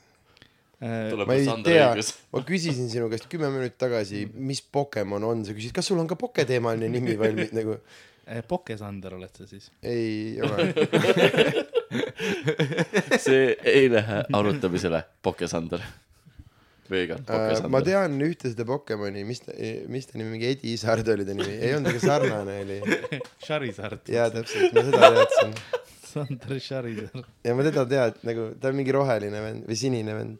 Speaker 2: tuleb
Speaker 5: äh,
Speaker 3: ma ei
Speaker 2: Sander
Speaker 3: tea
Speaker 2: õigus ., *laughs*
Speaker 3: ma küsisin sinu käest kümme minutit tagasi , mis Pokemon on , sa küsisid , kas sul on ka Poke teemaline nimi valmis nagu .
Speaker 5: äh, Pokesander oled sa siis ?
Speaker 3: ei ole .
Speaker 2: see ei lähe arutamisele , Pokesander . vegan ,
Speaker 3: Äh, ma
Speaker 2: Pokesander .
Speaker 3: tean ühte seda Pokemoni , mis ta , mis ta nimi , mingi Edi Isard oli ta nimi , ei olnud , aga sarnane oli .
Speaker 5: *laughs* Charizard ,
Speaker 3: jaa , täpselt , ma seda teadsin .
Speaker 5: Sander Charizard .
Speaker 3: ja ma teda tead , nagu ta on mingi roheline vend või sinine vend .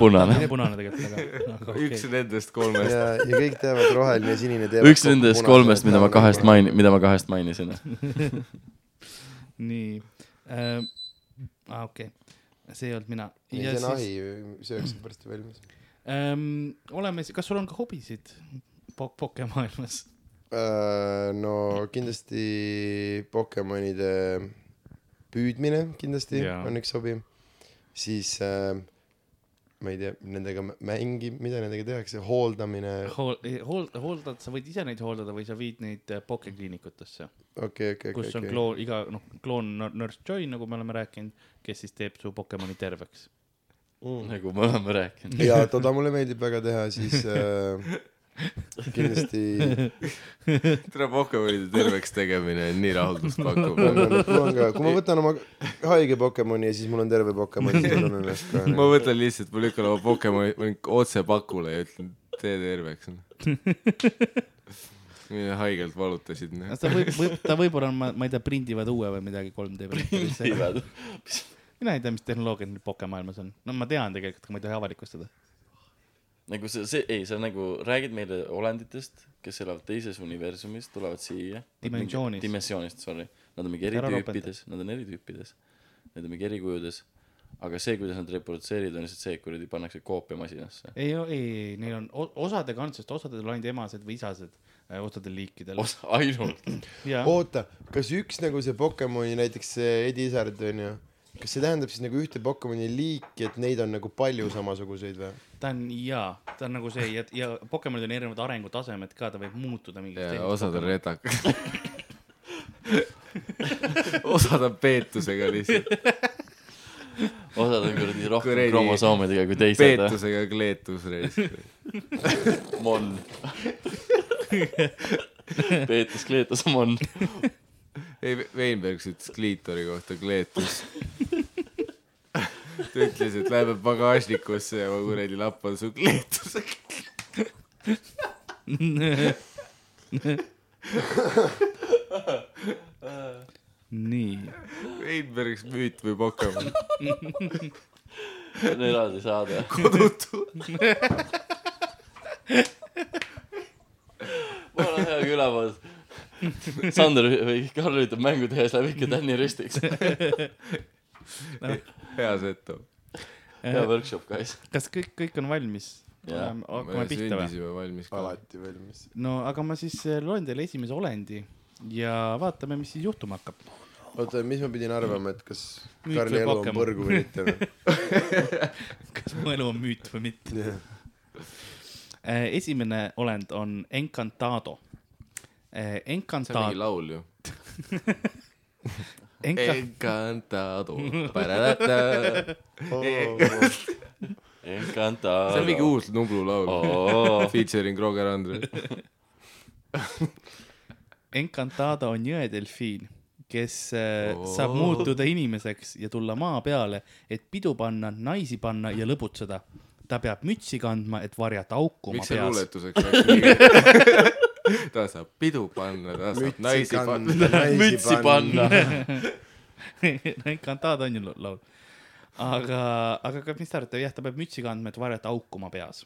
Speaker 2: punane.
Speaker 5: punane tegelikult , aga , aga
Speaker 4: üks
Speaker 5: okei .
Speaker 4: nendest kolmest .
Speaker 3: ja , ja kõik teavad , roheline ja sinine teevad .
Speaker 2: üks nendest kolmest , mida ma kahest . main- , mida ma kahest mainisin .
Speaker 5: nii äh, , aa okei okay. , see ei olnud mina .
Speaker 3: ei , see on ahi , sööks pärast valmis .
Speaker 5: ähm, . oleme , kas sul on ka hobisid pok- , pokemaailmas ?
Speaker 3: Äh, no kindlasti Pokemonide püüdmine kindlasti
Speaker 5: Jaa.
Speaker 3: yeah. on üks hobi . siis äh, ma ei tea , nendega mä- mängi- , mida nendega tehakse , hooldamine ,
Speaker 5: Hool- , hool- , hooldad , sa võid ise neid hooldada või sa viid neid äh, pokekliinikutesse ,
Speaker 3: okei , okei ,
Speaker 5: kus on
Speaker 3: okei .
Speaker 5: kloon , iga noh , kloon on nurse Joy , nagu me oleme rääkinud , kes siis teeb su Pokemoni terveks .
Speaker 2: nagu me oleme rääkinud .
Speaker 3: ja toda mulle meeldib väga teha , siis äh, kindlasti
Speaker 4: tere , Pokemonide terveks tegemine on nii rahuldust pakkuv .
Speaker 3: on, on, mul on ka , kui ma võtan oma haige Pokemoni ja siis mul on terve Pokemon , siis ma tunnen ennast ka .
Speaker 4: ma võtan lihtsalt , ma lükkan oma Pokemoni ma lükkan otse pakule ja ütlen , tee terveks . nii haigelt valutasid . noh.
Speaker 5: ta võib , võib , ta võib-olla on , ma , ma ei tea , prindivad uue või midagi
Speaker 3: *laughs*
Speaker 5: 3D printerisse . mina ei tea , mis tehnoloogia nüüd pokemaailmas on , no ma tean tegelikult , aga ma ei tohi avalikustada .
Speaker 2: nagu see , see , ei , sa nagu räägid meile olenditest , kes elavad teises universumis , tulevad siia .
Speaker 5: Dimensioonis.
Speaker 2: dimensioonist , sorry . Nad on mingi eri
Speaker 5: Ära
Speaker 2: tüüpides , nad on eri tüüpides . Need on mingi eri kujudes . aga see , kuidas nad reprodutseerivad , on lihtsalt see , et kuradi pannakse koopiamasinasse .
Speaker 5: ei , ei , ei , neil on o- osade kantsest , osadel on ainult emased või isased äh, osadel liikidel .
Speaker 2: osa , ainult .
Speaker 5: ja ,
Speaker 3: oota , kas üks nagu see Pokemoni näiteks see Eddie Isard onju , kas see tähendab siis nagu ühte Pokemoni liiki , et neid on nagu palju samasuguseid või ?
Speaker 5: ta on ja , ta on nagu see ja , ja Pokemonid on erinevad arengutasemed ka , ta võib muutuda mingiks
Speaker 4: ja . osad on
Speaker 5: *laughs*
Speaker 4: retakad osad on peetusega lihtsalt ,
Speaker 2: osad on kuradi rohkem
Speaker 4: Kuradi-
Speaker 2: kromosoomidega kui teised .
Speaker 4: peetusega kleetus reis .
Speaker 2: Mon . *laughs* Peetus Kleetus Mon .
Speaker 4: ei , Veinbergs ütles kliitori kohta kleetus . ta ütles , et läheb pagasnikusse ja ma kuradi lappan su kleetusega .
Speaker 5: nii ,
Speaker 4: Veinbergs müüt või Pokemon ?
Speaker 2: see on eraldi
Speaker 3: *laughs*
Speaker 2: saade .
Speaker 4: kodutu .
Speaker 2: mul on hea külapood . Sander või Karl üritab mängu teha , siis läheb ikka Tänni ristiks .
Speaker 4: hea setu .
Speaker 2: hea workshop , guys .
Speaker 5: Äh, kas kõik , kõik on valmis ?
Speaker 2: Jaa.
Speaker 5: hakkame pihta või ?
Speaker 4: sündisime valmis ka .
Speaker 3: alati valmis .
Speaker 5: no aga ma siis äh, loen teile esimese olendi ja vaatame , mis siis juhtuma hakkab .
Speaker 3: oota , mis ma pidin arvama , et kas
Speaker 5: Müüt
Speaker 3: Karli
Speaker 5: või
Speaker 3: elu on
Speaker 5: Pokemon?
Speaker 3: põrgu või mitte või ?
Speaker 5: kas mu elu on müüt või mitte ? esimene olend on Encantado . Eh,
Speaker 4: see on mingi
Speaker 5: Encantado .
Speaker 4: laul ju .
Speaker 5: Enca- ,
Speaker 4: Encantado .
Speaker 2: Encantado .
Speaker 4: see on mingi uus Nublu laul .
Speaker 2: uus .
Speaker 4: Featuring Roger Andre .
Speaker 5: Encantado on jõedelfiin , kes äh, saab muutuda inimeseks ja tulla maa peale , et pidu panna , naisi panna ja lõbutseda . ta peab mütsi kandma , et varjata auku oma
Speaker 4: miks see
Speaker 5: *laughs* peas .
Speaker 4: luuletuseks läks ? *laughs* ta saab pidu panna , ta saab naisi panna .
Speaker 2: mütsi . panna .
Speaker 5: Encantado on ju lu- laul . aga , aga ka- mis te arvate , jah , ta peab mütsi kandma , et varjata auku oma peas .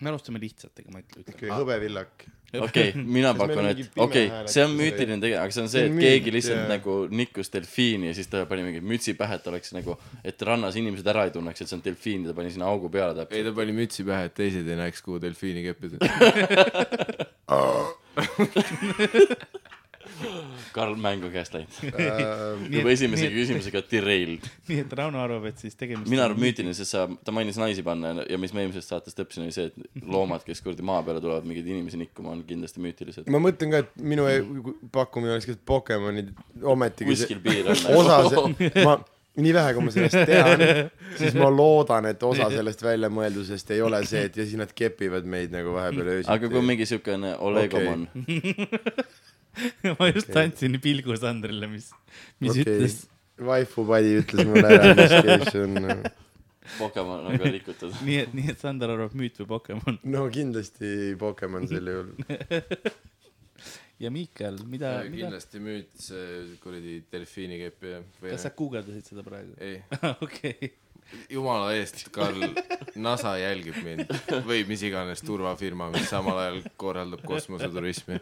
Speaker 5: me alustame lihtsatega , ma ütlen .
Speaker 3: okei , hõbevillak .
Speaker 2: okei , mina
Speaker 3: Kas meil
Speaker 2: pakun ,
Speaker 3: on
Speaker 2: et
Speaker 3: mingi pime
Speaker 2: okei
Speaker 3: hääl
Speaker 2: okay, , see on
Speaker 3: äkki või?
Speaker 2: müütiline tegelikult , aga see on see ,
Speaker 3: See
Speaker 2: et
Speaker 3: on
Speaker 2: keegi
Speaker 3: müüt,
Speaker 2: lihtsalt
Speaker 3: jaa.
Speaker 2: nagu nikkus delfiini ja siis ta pani mingi mütsi pähe , et oleks nagu , et rannas inimesed ära ei tunneks , et see on delfiin , ta pani sinna augu peale
Speaker 4: ei ,
Speaker 2: täpselt .
Speaker 4: ta pani mütsi pähe , et teised ei näeks , kuhu delfiini
Speaker 5: *laughs*
Speaker 4: keppida .
Speaker 2: Karl mängu käest läinud .
Speaker 5: Äh, nii
Speaker 2: juba
Speaker 5: et ,
Speaker 2: esimese küsimusega derailed .
Speaker 5: *laughs* nii et Rauno arvab , et siis tegemist .
Speaker 2: minu arvates müütiline , sest sa , ta mainis naisi panna ja- ja mis me eelmisest saatest õppisime , oli see , et loomad , kes kuradi maa peale tulevad mingeid inimesi nikkuma , on kindlasti müütilised .
Speaker 3: ma mõtlen ka , et minu e- pakkumine oleks , et Pokemonid ometigi .
Speaker 2: kuskil piir on . nagu
Speaker 3: osa see , ma , nii vähe , kui ma *laughs* sellest tean , siis ma loodan , et osa sellest väljamõeldusest ei ole see , et ja siis nad kepivad meid nagu vahepeal
Speaker 2: *laughs*
Speaker 3: öösiti .
Speaker 2: aga kui mingi siukene Olegomon okay. ,
Speaker 5: *laughs* ma just andsin pilgu Sandrile , mis , mis okay. ütles .
Speaker 3: Waifu padi ütles mulle ära , mis kes on .
Speaker 2: Pokemon on ka
Speaker 5: *laughs*
Speaker 2: rikutud .
Speaker 5: nii et , nii et Sander arvab müüt või Pokemon .
Speaker 3: no kindlasti Pokemon sel juhul .
Speaker 5: ja Miikal , mida , mida ,
Speaker 4: kindlasti müüt see kuradi delfiini kepp ja .
Speaker 5: kas sa guugeldasid seda praegu ?
Speaker 4: ei ,
Speaker 5: *laughs* okei ,
Speaker 4: jumala eest , Karl , NASA jälgib mind või mis iganes turvafirma , mis samal ajal korraldab kosmoseturismi .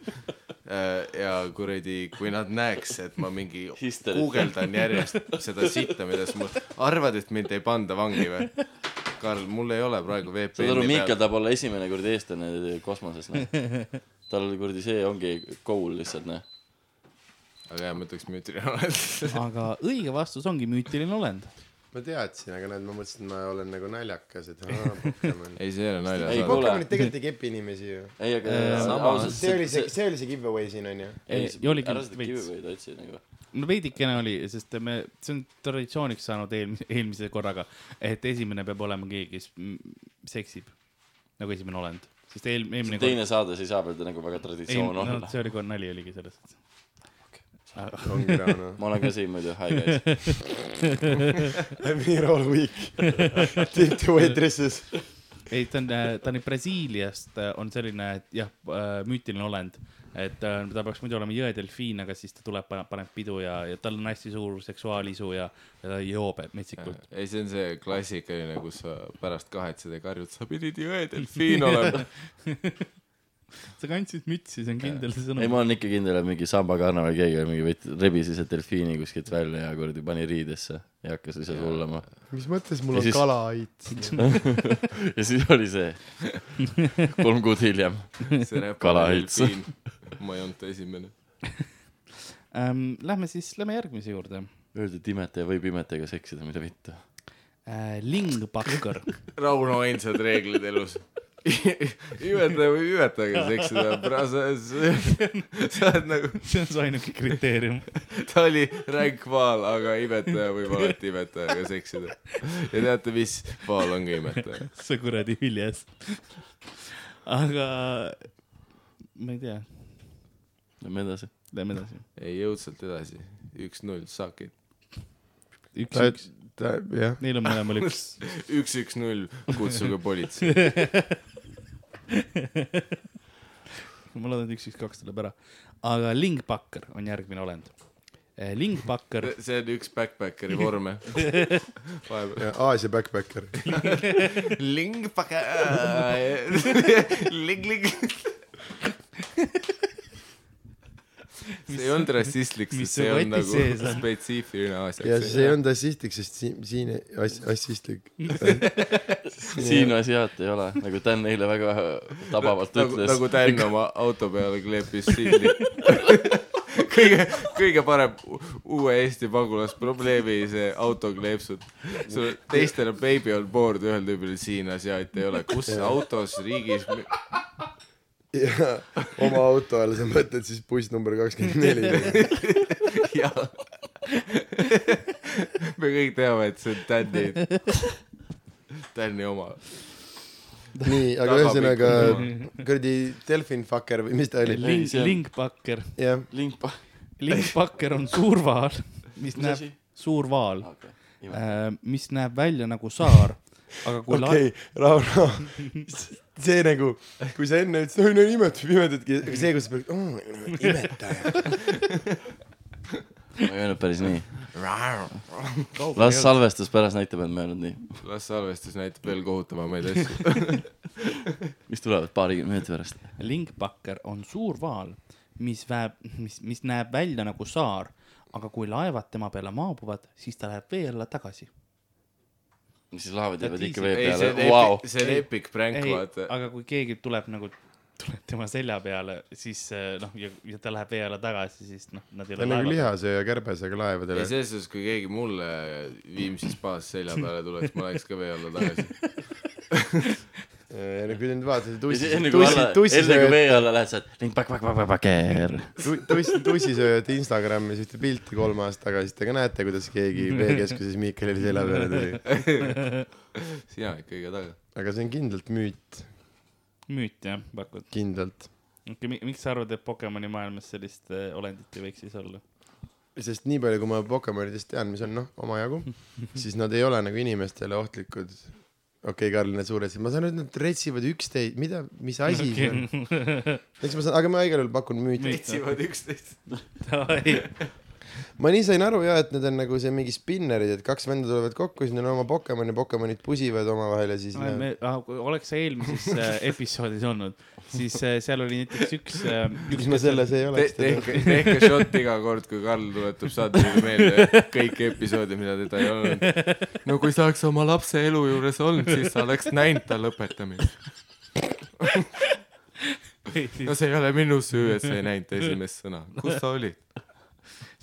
Speaker 4: ja kuradi , kui nad näeks , et ma mingi
Speaker 2: Hysteria.
Speaker 4: guugeldan järjest seda sitta , mida sa mul , arvad , et mind ei panda vangi või ? Karl , mul ei ole praegu
Speaker 2: saad aru ,
Speaker 4: VPN-i
Speaker 2: Miikal
Speaker 4: peal .
Speaker 2: tahab olla esimene kuradi eestlane kosmoses ,
Speaker 5: *laughs*
Speaker 2: noh . tal kuradi see ongi goal lihtsalt , noh .
Speaker 4: aga jah , ma ütleks müütriaalselt .
Speaker 5: aga õige vastus ongi müütiline olend .
Speaker 3: ma teadsin , aga näed , ma mõtlesin , et ma olen nagu naljakas , et aa , Pokemon .
Speaker 4: *laughs* ei , see ei ole
Speaker 2: Ei,
Speaker 4: nalja .
Speaker 2: kuule.
Speaker 3: Pokemonid tegelikult ei kepi inimesi ju .
Speaker 2: ei ,
Speaker 5: Äh,
Speaker 2: aga
Speaker 4: sama.
Speaker 2: ausalt ,
Speaker 3: see oli see , see oli see giveaway siin onju .
Speaker 5: Ei,
Speaker 2: ei
Speaker 5: oli ,
Speaker 2: ära
Speaker 5: kindlasti
Speaker 2: seda
Speaker 5: veits.
Speaker 2: giveaway'd otsi nagu .
Speaker 5: no veidikene oli , sest me , see on traditsiooniks saanud eelmise , eelmise korraga , et esimene peab olema keegi , kes mm, seksib nagu esimene olend , sest eel- , eelmine kord .
Speaker 2: teine saade , siis saab öelda nagu väga traditsioon
Speaker 5: no,
Speaker 2: olla .
Speaker 5: see oli kord nali oligi selles suhtes .
Speaker 3: ongi noh. Rauno .
Speaker 2: ma olen ka siin muidu , hi guys .
Speaker 3: I'm here all week . Take the waitresses .
Speaker 5: ei , ta on , ta on Brasiiliast , on selline jah , müütiline olend , et äh, ta peaks muidu olema jõedelfiin , aga siis ta tuleb , paneb , paneb pidu ja , ja tal on hästi suur seksuaalisu ja , ja ta joob metsikult .
Speaker 4: ei , see on see klassikaline , kus sa pärast kahetsed ja karjud , sa pidid jõe delfiin olema .
Speaker 5: sa kandsid mütsi , see on kindel
Speaker 2: ei ,
Speaker 5: see
Speaker 2: ma
Speaker 5: sõnum .
Speaker 2: olen ikka kindel , et mingi sambakarna või keegi oli mingi võtt- rebis ise delfiini kuskilt välja ja kuradi pani riidesse ja hakkas ise hullama .
Speaker 3: mis mõttes mul
Speaker 2: Ja
Speaker 3: on
Speaker 2: siis- *laughs*
Speaker 3: kalaait ?
Speaker 2: ja siis oli see
Speaker 4: *laughs*
Speaker 2: kolm kuud hiljem .
Speaker 4: see räpar
Speaker 2: Kalahaits.
Speaker 4: delfiin . ma ei olnud esimene .
Speaker 5: Ähm, Lähme siis , lähme järgmise juurde .
Speaker 2: Öeldi , et imetaja võib imetajaga seksida , mida vittu .
Speaker 5: Äh, lingpakkar .
Speaker 4: Rauno ainsad reeglid elus . *laughs* imetaja või imetajaga seksida , sa sa oled nagu ,
Speaker 5: *laughs* see on su ainuke *laughs* kriteerium .
Speaker 4: ta oli ränk vaal , aga imetaja võib alati imetajaga seksida . ja teate , mis vaal on ka imetaja ?
Speaker 5: sa kuradi hüljes . aga ma ei tea ,
Speaker 2: Lähme edasi .
Speaker 5: lähme edasi .
Speaker 4: ei , jõudsalt edasi , üks-null , suck it .
Speaker 5: üks-üks ,
Speaker 3: jah ,
Speaker 5: neil on mõlemal üks .
Speaker 4: üks-üks-null , kutsuge politsei .
Speaker 5: ma loodan , et üks-üks-kaks tuleb ära . aga lingpakkar on järgmine olend . Eh, lingpakkar
Speaker 4: see on üks backpackeri vorme . vahepeal .
Speaker 3: Aasia backpacker .
Speaker 4: Ling paka Ling ling see ei olnud rassistlik ,
Speaker 5: mis su
Speaker 4: sest see
Speaker 5: kotis
Speaker 4: on nagu
Speaker 5: sees on?
Speaker 4: spetsiifiline asja .
Speaker 3: ja see ei olnud assistlik , sest siin , siin ass- , assistlik .
Speaker 2: siin asiaat ei ole , nagu Dan eile väga tabavalt
Speaker 4: nagu ,
Speaker 2: ütles .
Speaker 4: nagu Dan oma auto peale kleepis sildi . *laughs* kõige , kõige parem u- uue Eesti pagulasprobleemi see autokleepsud . sul teistel on baby on board , ühel tüübil siin asjaait ei ole , kus autos riigis mi-
Speaker 3: ja oma auto all sa mõtled siis buss number kakskümmend neli .
Speaker 4: jah . me kõik teame , et see on Tänni , Tänni oma .
Speaker 3: nii , aga
Speaker 4: Tagapikk
Speaker 3: ühesõnaga
Speaker 4: on
Speaker 3: kuradi delfin fucker või mis ta oli ?
Speaker 5: ling ,
Speaker 2: see on-
Speaker 5: lingpakker ,
Speaker 3: jah ,
Speaker 2: lingpa .
Speaker 5: lingpakker on suur vaal , mis
Speaker 2: Mis
Speaker 5: näeb
Speaker 2: asi? , Ah,
Speaker 5: suur vaal , mis näeb välja nagu saar , aga kui
Speaker 3: okei ,
Speaker 5: okay.
Speaker 3: Rauno , see nagu , kui sa enne ütlesid , oi no imetab , imetadki , aga see , kus sa pead , imetaja .
Speaker 2: ma ei öelnud päris nii .
Speaker 4: Nagu
Speaker 2: las salvestus pärast näitab , et ma ei öelnud nii .
Speaker 4: las salvestus näitab veel kohutavamaid asju .
Speaker 2: mis tulevad paarikümne minuti pärast .
Speaker 5: la- lingpakker on suur vaal , mis väeb , mis , mis näeb välja nagu saar , aga kui laevad tema peale maabuvad , siis ta läheb vee alla tagasi .
Speaker 2: siis laevad jäävad
Speaker 5: Tead,
Speaker 2: ikka
Speaker 5: easy.
Speaker 2: vee
Speaker 4: ei , see on
Speaker 2: peale , vau
Speaker 4: epic ,. see on epic prank ,
Speaker 5: ei ,
Speaker 4: vaata .
Speaker 5: aga kui keegi tuleb nagu , tuleb tema selja peale , siis eh, noh , ja , ja ta läheb vee alla tagasi , siis noh , nad ei
Speaker 6: ta
Speaker 5: ole
Speaker 6: on nagu
Speaker 5: laevad .
Speaker 6: lihasööja kärbesega
Speaker 4: ei ,
Speaker 6: laevadele .
Speaker 4: selles suhtes , kui keegi mulle Viimsi spaas selja peale tuleks , ma läheks ka vee alla tagasi .
Speaker 3: kui te nüüd vaatate ,
Speaker 2: enne kui nagu alla , enne kui
Speaker 3: tussisööjad ,
Speaker 2: vee alla lähed , saad ling pak , pak , pak , pak , paker .
Speaker 3: tussisööjate Instagramis ühte pilti kolm aastat tagasi , te ka näete , kuidas *laughs* keegi veekeskuses Miikalile selja peale tuli .
Speaker 4: sina oled kõige taga .
Speaker 3: aga see on kindlalt müüt ,
Speaker 5: müüt jah , pakud .
Speaker 3: kindlalt .
Speaker 5: okei , miks sa arvad , et Pokemoni maailmas sellist eh, olendit ei võiks siis olla ?
Speaker 3: sest nii palju , kui ma Pokemonidest tean , mis on noh , *laughs* omajagu , siis nad ei ole nagu inimestele ohtlikud . okei okay, , Karl , need suured , ma saan aru , et nad retsivad üksteist , mida , mis asi see on ? eks ma saan , aga ma igal juhul pakun müüti .
Speaker 4: otsivad üksteist .
Speaker 5: Davai , *laughs*
Speaker 3: ma nii sain aru ja , et need on nagu see mingi spinnerid , et kaks venda tulevad kokku , siis neil on oma Pokemon ja Pokemonid pusivad omavahel ja siis
Speaker 5: me
Speaker 3: no, .
Speaker 5: ah, , oleks see eelmises äh, episoodis olnud , siis äh, seal oli näiteks üks äh, ,
Speaker 3: miks ma selles ei oleks te, ?
Speaker 4: tehke , tehke shot iga kord , kui Karl tuletab saatele meelde kõiki episoode , mida teda ei olnud . no kui sa oleks oma lapse elu juures olnud , siis sa oleks näinud ta lõpetamist . no
Speaker 5: siis,
Speaker 4: see ei ole minu süü , et sa ei näinud esimest sõna . kus sa olid ?
Speaker 5: *laughs*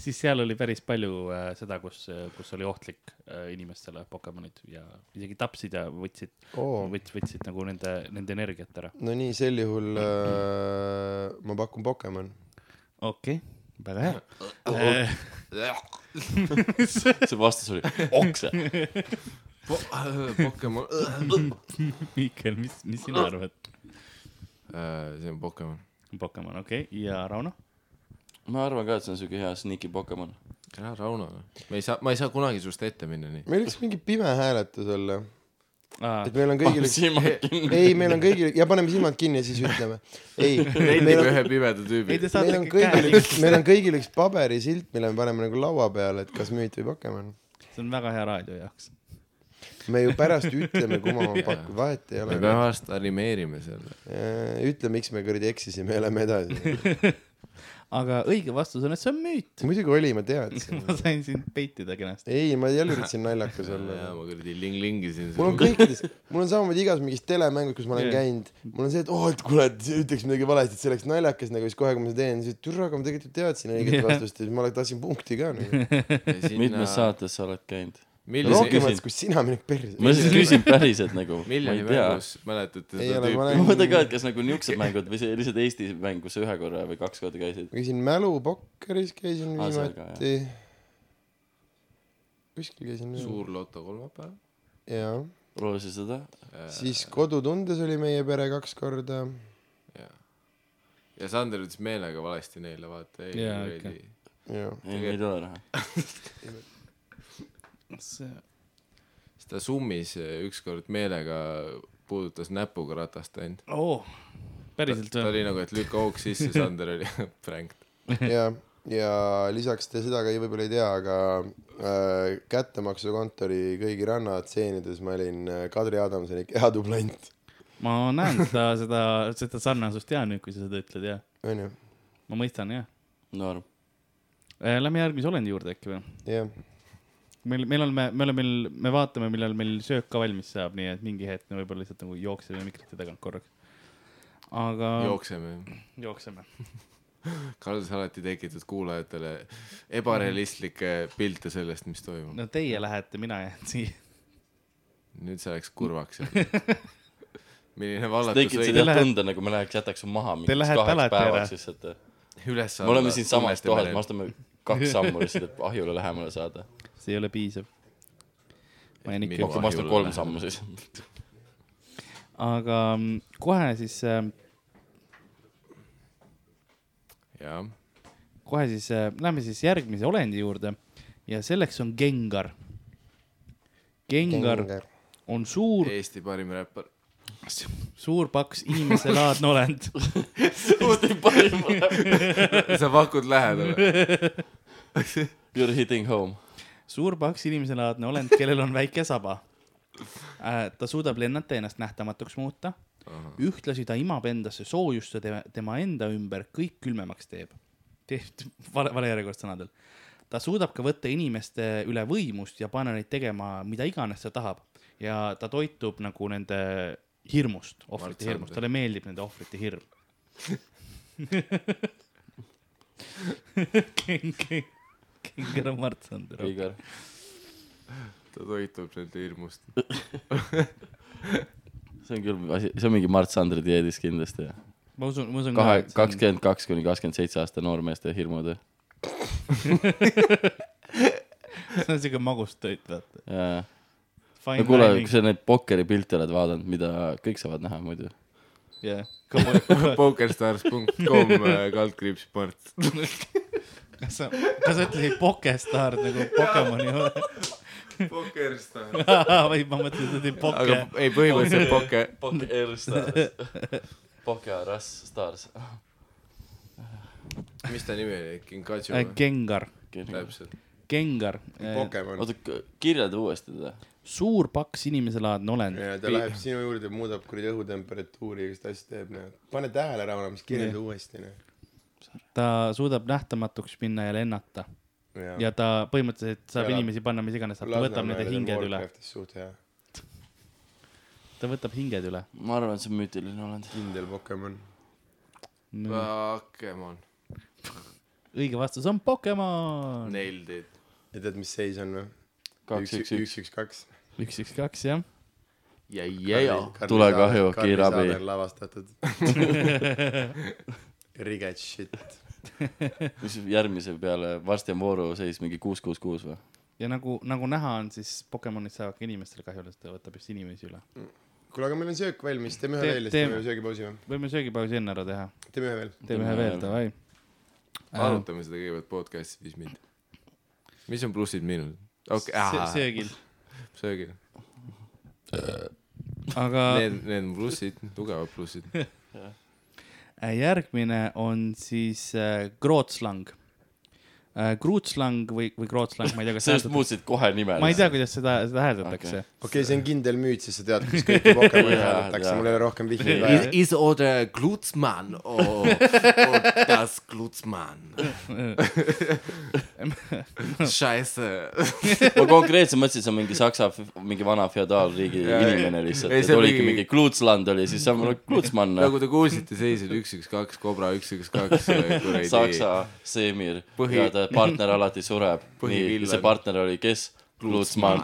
Speaker 5: siis seal oli päris palju äh, seda , kus , kus oli ohtlik äh, inimestele Pokemonid ja isegi tapsid ja võtsid ,
Speaker 3: oo ,
Speaker 5: võtsid , võtsid nagu nende , nende energiat ära .
Speaker 3: Oh, no nii , sel juhul äh, ma pakun Pokemon .
Speaker 5: okei okay. , väga
Speaker 3: Äh,
Speaker 5: hea .
Speaker 2: *laughs*
Speaker 5: Äh,
Speaker 2: see vastus oli okse .
Speaker 4: äh, Pokemon .
Speaker 5: Miikel , mis , mis sina arvad ?
Speaker 4: Äh, see on Pokemon .
Speaker 5: Pokemon , okei okay. , ja Rauno ?
Speaker 2: ma arvan ka , et see on siuke hea sneaky Pokemon .
Speaker 4: ära Rauno , me ei saa , ma ei saa kunagi sinust ette minna nii .
Speaker 3: meil võiks mingi pime hääletus olla ,
Speaker 5: Ah,
Speaker 3: et meil on kõigil üks ei , meil on kõigil ja paneme silmad kinni ja siis ütleme . ei , meil
Speaker 4: rendib
Speaker 3: on ,
Speaker 4: ühe pimeda
Speaker 5: ei , te
Speaker 4: tüübi .
Speaker 5: saate
Speaker 3: meil on
Speaker 5: käe
Speaker 3: kõigil üks , meil on kõigil üks paberisilt , mille me paneme nagu laua peale , et kas müüt või Pokemon .
Speaker 5: see on väga hea raadio jaoks .
Speaker 3: me ju pärast ütleme , kumma ma pakun , vahet ei
Speaker 4: me
Speaker 3: ole .
Speaker 4: peame vast animeerime selle .
Speaker 3: ütle , miks me kuradi eksisime ja lähme edasi .
Speaker 5: aga õige vastus on , et see on müüt .
Speaker 3: muidugi oli , ma teadsin .
Speaker 5: ma sain sind peitida kenasti .
Speaker 3: ei , ma jälle üritasin naljakas olla
Speaker 4: jaa , ma kuradi ling-lingisin
Speaker 2: *laughs*
Speaker 3: mul on
Speaker 4: selle .
Speaker 3: kõikides , mul on samamoodi igas mingis telemängus , kus ma olen
Speaker 5: Jah.
Speaker 3: käinud , mul on see , et oo , et kuule , et see ütleks midagi valesti , et see oleks naljakas nagu , siis kohe , kui ma seda teen , siis et türa , aga ma tegelikult ju teadsin õiget
Speaker 5: Jah.
Speaker 3: vastust ja siis ma oleks- tahtsin punkti ka nagu .
Speaker 2: *laughs* mitmes ? saates sa oled käinud ?
Speaker 4: millise ,
Speaker 2: Rohkem-
Speaker 3: rohkem , et kus sina mind perse .
Speaker 2: ma lihtsalt küsin päriselt nagu , ma ei
Speaker 4: miljoni
Speaker 2: tea .
Speaker 4: mängus mäletate
Speaker 3: Ei
Speaker 4: seda
Speaker 3: ole, ma
Speaker 4: tüüpi ?
Speaker 2: ma mõtlen ka , et kas nagu niisugused mängud või see lihtsalt Eesti mäng , kus sa ühe korra või kaks korda käisid .
Speaker 3: ma käisin mälupokkeris , käisin
Speaker 2: Aa, Ah, seal ka,
Speaker 3: viimati . kuskil käisin jah.
Speaker 4: suur loto kolmapäev .
Speaker 3: ja
Speaker 2: proovisid seda ?
Speaker 3: siis Kodutundes oli meie pere kaks korda .
Speaker 4: ja Sander ütles meelega valesti neile , vaata .
Speaker 5: Jaa,
Speaker 4: ei ,
Speaker 3: ja
Speaker 2: ei , meil ei ole raha .
Speaker 4: siis ta summis äh, ükskord meelega puudutas näpuga ratast ainult .
Speaker 5: oo , Oh, päriselt
Speaker 4: ta
Speaker 5: või ?
Speaker 4: oli nagu , et lükka hoog sisse , Sander oli *laughs* pränk .
Speaker 5: Hm.
Speaker 3: ja , ja lisaks te seda ka ei- võib-olla ei tea , aga äh, kättemaksukontori kõigi rannatseenides ma olin äh, Kadri Adamsoni kehadublant ,
Speaker 5: ma näen seda , seda , seda sarnasust ja nüüd , kui sa seda ütled ja
Speaker 3: onju .
Speaker 5: ma mõistan ja .
Speaker 2: norm .
Speaker 5: Lähme järgmise olendi juurde äkki või ?
Speaker 3: jah ,
Speaker 5: meil , meil on , me oleme , me vaatame , millal meil söök ka valmis saab , nii et mingi hetk me võib-olla lihtsalt nagu jookseme mikrite tagant korraks . aga
Speaker 4: jookseme .
Speaker 5: jookseme .
Speaker 4: Karl , sa alati tekitad kuulajatele ebarealistlikke pilte sellest , mis toimub .
Speaker 5: no teie lähete , mina jään siia .
Speaker 4: nüüd see läks
Speaker 5: *laughs*
Speaker 4: kurvaks jälle . milline vallatus
Speaker 2: tekitasid
Speaker 4: õige
Speaker 2: jah
Speaker 5: lähete-
Speaker 2: tunda nagu me läheks , jätaks su maha mingiks
Speaker 5: lähete
Speaker 2: kaheks
Speaker 5: alati
Speaker 2: päevaks
Speaker 5: ära.
Speaker 2: lihtsalt .
Speaker 4: üles
Speaker 2: me oleme siin samas kohas , me astume kaks sammu lihtsalt , et ahjule lähemale saada .
Speaker 5: see ei ole piisav . ma jään
Speaker 4: Et
Speaker 5: ikka
Speaker 4: minu-
Speaker 2: rohkem astun
Speaker 4: Ahjule
Speaker 2: kolm
Speaker 4: lähemale.
Speaker 2: sammu siis . *laughs*
Speaker 5: aga mm, kohe siis , ähm,
Speaker 4: jah ,
Speaker 5: kohe siis äh, lähme siis järgmise olendi juurde ja selleks on Gengar . Gengar
Speaker 3: Gengar.
Speaker 5: on suur ,
Speaker 4: Eesti parim räppar . *laughs*
Speaker 5: suur paks inimeselaadne olend .
Speaker 2: suhteliselt parim olema .
Speaker 4: sa pakud lähedale .
Speaker 2: You are hitting home .
Speaker 5: suur paks inimeselaadne olend , kellel on väike saba . ta suudab lennata ja ennast nähtamatuks muuta . ühtlasi ta imab endasse soojust ja tema- tema enda ümber kõik külmemaks teeb . teeb vale , vale järjekord sõnadel . ta suudab ka võtta inimeste üle võimust ja panna neid tegema mida iganes ta tahab ja ta toitub nagu nende hirmust , ohvrite
Speaker 4: Mart
Speaker 5: hirmust ,
Speaker 4: Sander.
Speaker 5: talle meeldib nende ohvrite
Speaker 4: *laughs*
Speaker 5: hirm . Kengar on Mart Sander .
Speaker 2: Igor .
Speaker 4: ta toitub nende hirmust .
Speaker 2: see on küll asi , see on mingi Mart Sandri dieedis kindlasti .
Speaker 5: ma usun , ma usun
Speaker 2: kahe ,
Speaker 5: et see on-
Speaker 2: kakskümmend kaks kuni kakskümmend seitse aasta noormeeste hirmud .
Speaker 5: *laughs* see on siuke magustoit , vaata .
Speaker 2: jaa no kuule , kui sa neid pokkeripilte oled vaadanud , mida kõik saavad näha muidu .
Speaker 5: jah , kas *laughs*
Speaker 4: Pokerstars.com äh, kaldkriips Mart .
Speaker 5: sa , kas sa ütlesid Pokestar nagu Pokemoni või ? *laughs*
Speaker 4: Pokerstars .
Speaker 5: või ma mõtlesin , et sa ütlesid Poke
Speaker 4: aga . ei , põhimõtteliselt poke .
Speaker 2: Pokerstars . *laughs* Pokeras Stars .
Speaker 4: mis ta nimi oli , Kinkatsu
Speaker 5: Äh,
Speaker 4: või ?
Speaker 5: Gengar ,
Speaker 4: täpselt .
Speaker 5: Gengar ,
Speaker 3: Pokemon .
Speaker 2: oota , kirjelda uuesti seda .
Speaker 5: suur paks inimeselaadne olend .
Speaker 3: ja ta läheb sinu juurde , muudab kuradi õhutemperatuuri ja igast asja teeb , noh . pane tähele , Rauno , mis kirjelda uuesti , noh .
Speaker 5: ta suudab nähtamatuks minna ja lennata ja
Speaker 3: ja
Speaker 5: ta põhimõtteliselt saab
Speaker 3: Ja-
Speaker 5: inimesi panna , mis iganes saab , ta võtab nende
Speaker 3: nagu
Speaker 5: hinged üle ,
Speaker 3: suht hea ,
Speaker 5: ta võtab hinged üle .
Speaker 2: ma arvan , et see on müütiline olend .
Speaker 3: kindel Pokemon .
Speaker 4: Ah, Pokemon .
Speaker 5: õige vastus on Pokemon .
Speaker 4: Nailed it .
Speaker 3: ja tead , mis seis on või ?
Speaker 2: kaks , üks , üks .
Speaker 3: üks , üks , kaks .
Speaker 5: üks , üks , kaks , jah .
Speaker 4: ja , ja ,
Speaker 2: tulekahju , kiirabi . *laughs*
Speaker 3: lavastatud Riget shit
Speaker 2: mis järgmise peale , varsti on vooruseis mingi kuus , kuus , kuus või ?
Speaker 5: ja nagu , nagu näha on , siis Pokemonid saavad ka inimestele kahju , ta võtab just inimesi üle .
Speaker 3: kuule , aga meil on söök valmis , teeme ühe
Speaker 5: Teeb-
Speaker 3: veel ja siis
Speaker 5: teeme.
Speaker 3: teeme ühe söögipausi või ?
Speaker 5: võime söögipausi enne ära teha ,
Speaker 3: teeme ühe veel .
Speaker 5: teeme ühe veel , davai .
Speaker 4: arutame seda kõigepealt podcast'i , siis mind . mis on plussid-miinused ? okei , ahah ,
Speaker 5: söögil ,
Speaker 4: söögil .
Speaker 5: aga
Speaker 4: *laughs* Need , need on plussid , tugevad *laughs* plussid .
Speaker 5: järgmine on siis äh, grootslang . Kruutslang või , või Krootslang , ma ei tea ,
Speaker 4: *laughs*
Speaker 5: kas
Speaker 2: sa just
Speaker 5: hääldatakse ,
Speaker 2: muutsid kohe nime .
Speaker 5: ma ei tea , kuidas seda , *laughs* seda hääldatakse .
Speaker 3: okei , see on kindel müüt , sest sa tead , kus kõiki
Speaker 2: *laughs*
Speaker 3: Pokemoni
Speaker 2: Jaa,
Speaker 3: hääldatakse
Speaker 2: jaa. ,
Speaker 3: mul ei ole rohkem vihjeid
Speaker 4: Is,
Speaker 3: vaja .
Speaker 4: is oder Glutzmann? Oh, oh, das *laughs* Glutzmann. Scheiße.
Speaker 2: ma konkreetselt mõtlesin , see on mingi Saksa , mingi vana feodaalriigi
Speaker 4: Jaa, ei.
Speaker 2: inimene lihtsalt ,
Speaker 4: Ei,
Speaker 2: et
Speaker 4: see on
Speaker 2: oligi
Speaker 4: mingi-
Speaker 2: mingi Kluutsland oli , siis on mul Kluutsmann ,
Speaker 4: nagu te kuulsite , seisid üks , üks , kaks , Cobra üks , üks , kaks kuradi .
Speaker 2: Saksa , Seemir
Speaker 4: Põhi-
Speaker 2: ja ta partner alati
Speaker 4: *laughs*
Speaker 2: sureb . nii ,
Speaker 4: Põhivillan.
Speaker 2: see partner oli kes ? Kluutsmann .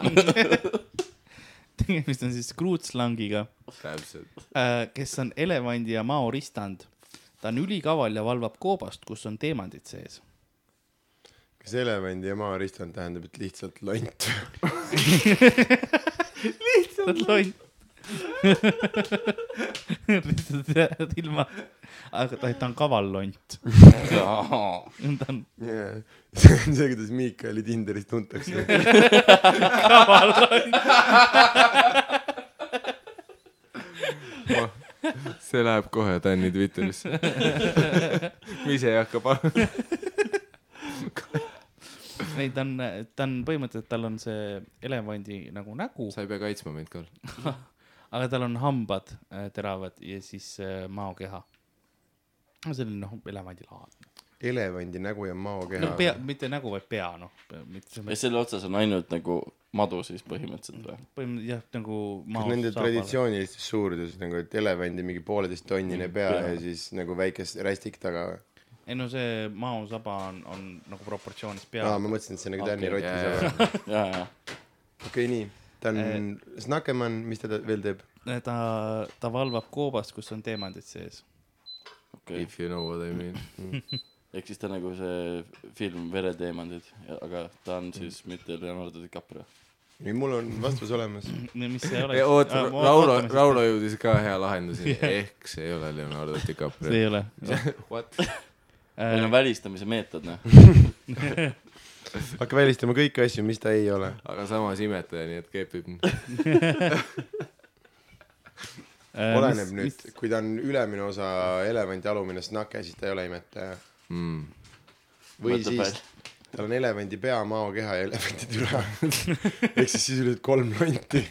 Speaker 2: *laughs*
Speaker 5: tegemist on siis Kruutslangiga ,
Speaker 4: täpselt .
Speaker 5: kes on elevandi ja mao ristand . ta on ülikaval ja valvab koobast , kus on teemandid sees .
Speaker 3: kas elevandi ja maaristand tähendab , et lihtsalt lont ?
Speaker 5: lont . *laughs* lihtsalt ilma , aga ta , ta on kaval lont . ta on
Speaker 3: *laughs* see on see , kuidas Miikali Tinderis tuntakse .
Speaker 5: *laughs*
Speaker 4: see läheb kohe Tänni *laughs* Twitterisse . ma ise ei hakka panema .
Speaker 5: ei , ta on , ta on põhimõtteliselt , tal on see elevandi nagu nägu ,
Speaker 4: sa ei pea kaitsma mind , Karl .
Speaker 5: aga tal on hambad äh, teravad ja siis äh, maokeha . no selline noh , elevandilaadne .
Speaker 3: elevandi nägu ja
Speaker 5: no
Speaker 3: maokeha .
Speaker 5: pea , mitte nägu , vaid pea noh , mitte
Speaker 2: ja
Speaker 5: selles mõttes ,
Speaker 2: selle otsas on ainult nagu madu siis põhimõtteliselt
Speaker 4: *laughs*
Speaker 2: või ?
Speaker 5: põhimõtteliselt jah , nagu
Speaker 3: kas
Speaker 5: mao
Speaker 3: nende . traditsioonilistes suuruses nagu , et elevandi mingi pooleteisttonnine pea ja siis nagu väikest rästik taga või ?
Speaker 5: ei no see maosaba on , on nagu proportsioonis pea
Speaker 3: aa ,. ma mõtlesin , et see on nagu Tänni
Speaker 2: Okei,
Speaker 3: roti
Speaker 4: jaa,
Speaker 3: sõber .
Speaker 2: ja , ja ,
Speaker 3: okei , nii , ta on
Speaker 4: Eh.
Speaker 3: Snakemann , mis ta ta- veel teeb ?
Speaker 5: ta , ta valvab koobast , kus on teemandid sees .
Speaker 2: okei okay. .
Speaker 4: If you know what I mean .
Speaker 2: ehk siis ta nagu see film Vereteemandid , aga ta on siis mitte Leonardo DiCaprio .
Speaker 3: ei , mul on vastus olemas .
Speaker 5: mis
Speaker 4: *laughs*
Speaker 5: see oleks ?
Speaker 4: oota , Rauno , Rauno jõudis ka hea lahenduseni , ehk see ei ole Leonardo
Speaker 5: see
Speaker 4: DiCaprio .
Speaker 5: ei ole .
Speaker 4: *laughs*
Speaker 5: *laughs* Äh,
Speaker 4: What ?
Speaker 2: meil on välistamise meetod ,
Speaker 4: *laughs*
Speaker 2: noh .
Speaker 3: hakka välistama kõiki asju , mis ta ei ole .
Speaker 4: aga samas imetaja , nii et kepib .
Speaker 5: äh,
Speaker 4: Eh,
Speaker 3: oleneb nüüd , kui ta on ülemine osa elevandi alumine snake , siis ta ei ole imetaja .
Speaker 4: Hmm.
Speaker 3: või
Speaker 2: Mõtle
Speaker 3: siis tal on elevandi pea , maokeha ja elevandi türa . *laughs* ehk siis sisuliselt kolm lonti .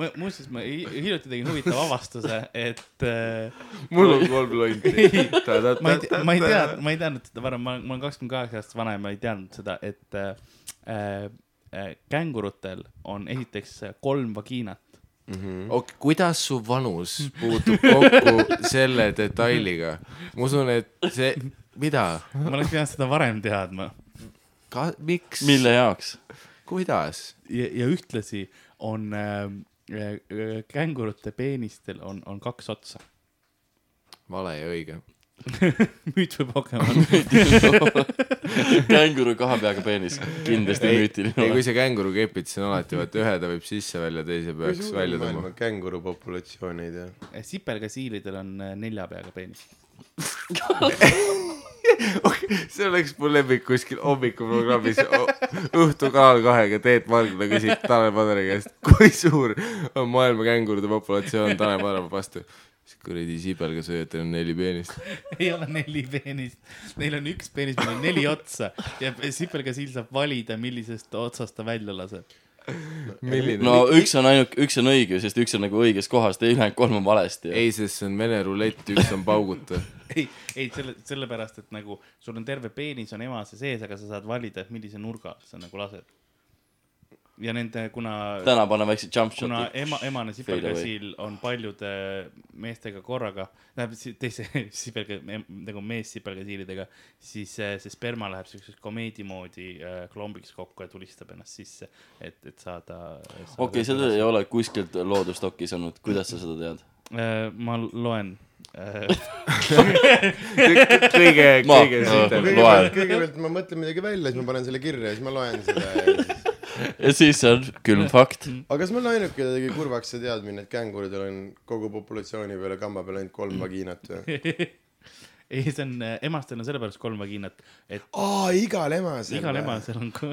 Speaker 5: ma muuseas , ma hi- hiljuti tegin huvitava avastuse , et äh,
Speaker 4: *laughs* mul on kolm *laughs* lonti .
Speaker 5: ma *laughs* ei tea , ma ei tea , ma ei teadnud seda varem , ma olen , ma olen kakskümmend kaheksa aastat vana ja ma ei teadnud seda , et äh, äh, kängurutel on esiteks kolm vagiinat .
Speaker 4: okei , kuidas su vanus puutub kokku selle detailiga ? ma usun , et see , mida ,
Speaker 5: ma oleks pidanud seda varem teadma
Speaker 4: ka , miks ,
Speaker 2: mille jaoks ?
Speaker 4: kuidas ?
Speaker 5: ja , ja ühtlasi on äh, äh, kängurute peenistel on , on kaks otsa . *laughs*
Speaker 4: vale ja õige .
Speaker 5: müüt või Pokemon ?
Speaker 2: känguru kahe peaga peenis , kindlasti
Speaker 4: ei ,
Speaker 2: müütiline
Speaker 4: kui
Speaker 2: oleks .
Speaker 4: see känguru kepid , siis on alati , vaata ühe ta võib sisse-välja , teise peaks välja tõmbama .
Speaker 3: känguru populatsioon ei tea .
Speaker 5: Eh, sipelgasiilidel on äh, nelja peaga peenis .
Speaker 4: see oleks mu lemmik kuskil hommikuprogrammis o- Õhtu Kanal kahega Teet Margla küsib Tanel Padari käest , kui suur on maailma kängurude populatsioon , Tanel Padar vab vastu . kuradi sibelgasööjatel on neli peenist .
Speaker 5: *laughs* ei ole neli peenist , neil on üks peenis , millel on neli otsa ja sipelgasiil saab valida , millisest otsast ta välja laseb .
Speaker 4: milline
Speaker 2: no üks on ainult , üks on õige , sest üks on nagu õiges kohas , ülejäänud kolm on valesti .
Speaker 4: ei , sest see on vene rulett , üks on *laughs* pauguta .
Speaker 5: ei , ei selle , sellepärast , et nagu sul on terve peenis on emase sees , aga sa saad valida , et millise nurga sa nagu lased . ja nende , kuna ,
Speaker 2: täna paneme väikse jump
Speaker 5: kuna
Speaker 2: shot'i .
Speaker 5: ema , emane
Speaker 2: Fade away.
Speaker 5: sipelgasiil on paljude meestega korraga , tähendab si- teise *laughs* sipelga , nagu meessipelgasiilidega , siis äh, see sperma läheb siukseks komeedi moodi äh, klombiks kokku ja tulistab ennast sisse , et , et saada .
Speaker 2: okei , seda ei ole kuskilt loodustokis olnud , kuidas sa seda tead ?
Speaker 5: Eh, ma loen äh,
Speaker 4: kõige ,
Speaker 2: ma
Speaker 4: kõige
Speaker 2: loen
Speaker 4: sitem .
Speaker 3: kõigepealt , kõigepealt ma mõtlen midagi välja , siis ma panen selle kirja ja siis ma loen seda ja siis .
Speaker 2: ja siis on külm fakt .
Speaker 3: aga kas mul ainuke tegi kurvaks see teadmine , et känguridel on kogu populatsiooni peale kamba peal ainult kolm vagiinat või ?
Speaker 5: *laughs* *laughs* ei , see on , emastel on sellepärast kolm vagiinat , et
Speaker 2: *laughs*
Speaker 5: *laughs*
Speaker 3: aa , igal emasel .
Speaker 5: igal emasel on ko- .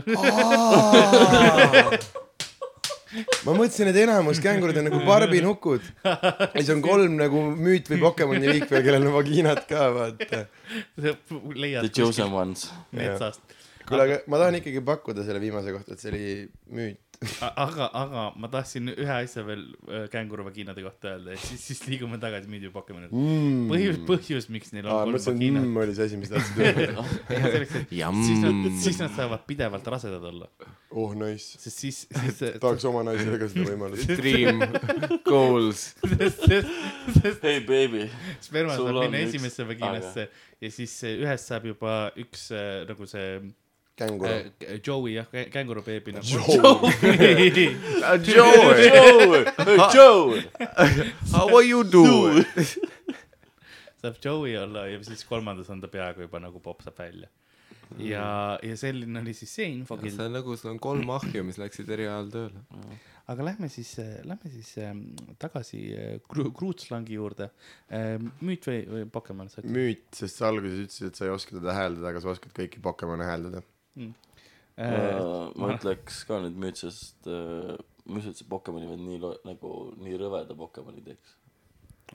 Speaker 3: ma mõtlesin , et enamus kängurid on nagu barbinukud .
Speaker 5: *laughs*
Speaker 3: ja siis on kolm nagu müüt või Pokemoni liikme , kellel on vagiinad ka , vaata .
Speaker 2: The
Speaker 5: leiad
Speaker 2: chosen ones .
Speaker 5: metsast .
Speaker 3: kuule , aga ma tahan ikkagi pakkuda selle viimase kohta , et see oli müüt .
Speaker 5: aga , aga ma tahtsin ühe asja veel äh, känguruvagiinade kohta öelda ja siis , siis liigume tagasi müüdi Pokemonile mm. . põhjus , põhjus , miks neil on
Speaker 3: aa , ma
Speaker 5: kolm
Speaker 3: mõtlesin , mm. et
Speaker 5: vagiinat
Speaker 3: mm oli see asi , mis tahtsid öelda . *laughs*
Speaker 4: Jamm.
Speaker 5: siis nad ,
Speaker 3: Mm.
Speaker 5: siis nad saavad pidevalt rasedad olla ,
Speaker 3: oh nice ,
Speaker 5: sest siis ,
Speaker 3: *laughs*
Speaker 5: siis sest ,
Speaker 3: tahaks oma naisele ka seda
Speaker 5: *laughs*
Speaker 3: võimalust .
Speaker 4: Dream , goals ,
Speaker 5: sest , sest
Speaker 2: Hey baby .
Speaker 5: sperma
Speaker 2: Sul
Speaker 5: saab
Speaker 2: on
Speaker 5: minna
Speaker 2: üks-
Speaker 5: esimesse vagiinasse ja siis äh, ühest saab juba üks äh, nagu see
Speaker 3: känguru .
Speaker 5: äh, Joey jah , kängurubeebi nagu .
Speaker 3: Joe ,
Speaker 4: Joe ,
Speaker 2: Joe , Joe .
Speaker 4: how are you doing ?
Speaker 5: *laughs* saab Joey olla ja siis kolmandas on ta peaaegu juba nagu popsab välja . ja , ja selline oli siis see infokild
Speaker 4: see , on nagu , sul on kolm ahju , mis läksid eri ajal tööle .
Speaker 5: aga lähme siis , lähme siis ähm, tagasi äh, Gru- Kruutslangi juurde . müüt või , või Pokemon sa ütled ?
Speaker 3: müüt , sest sa alguses ütlesid , et sa ei oska teda hääldada , aga sa oskad kõiki Pokemone hääldada .
Speaker 5: Eh. Äh,
Speaker 2: ma ütleks ka nüüd müüt , sest äh, ma ei usu , et see Pokemoni vend nii lo- nagu nii rõveda Pokemoni teeks .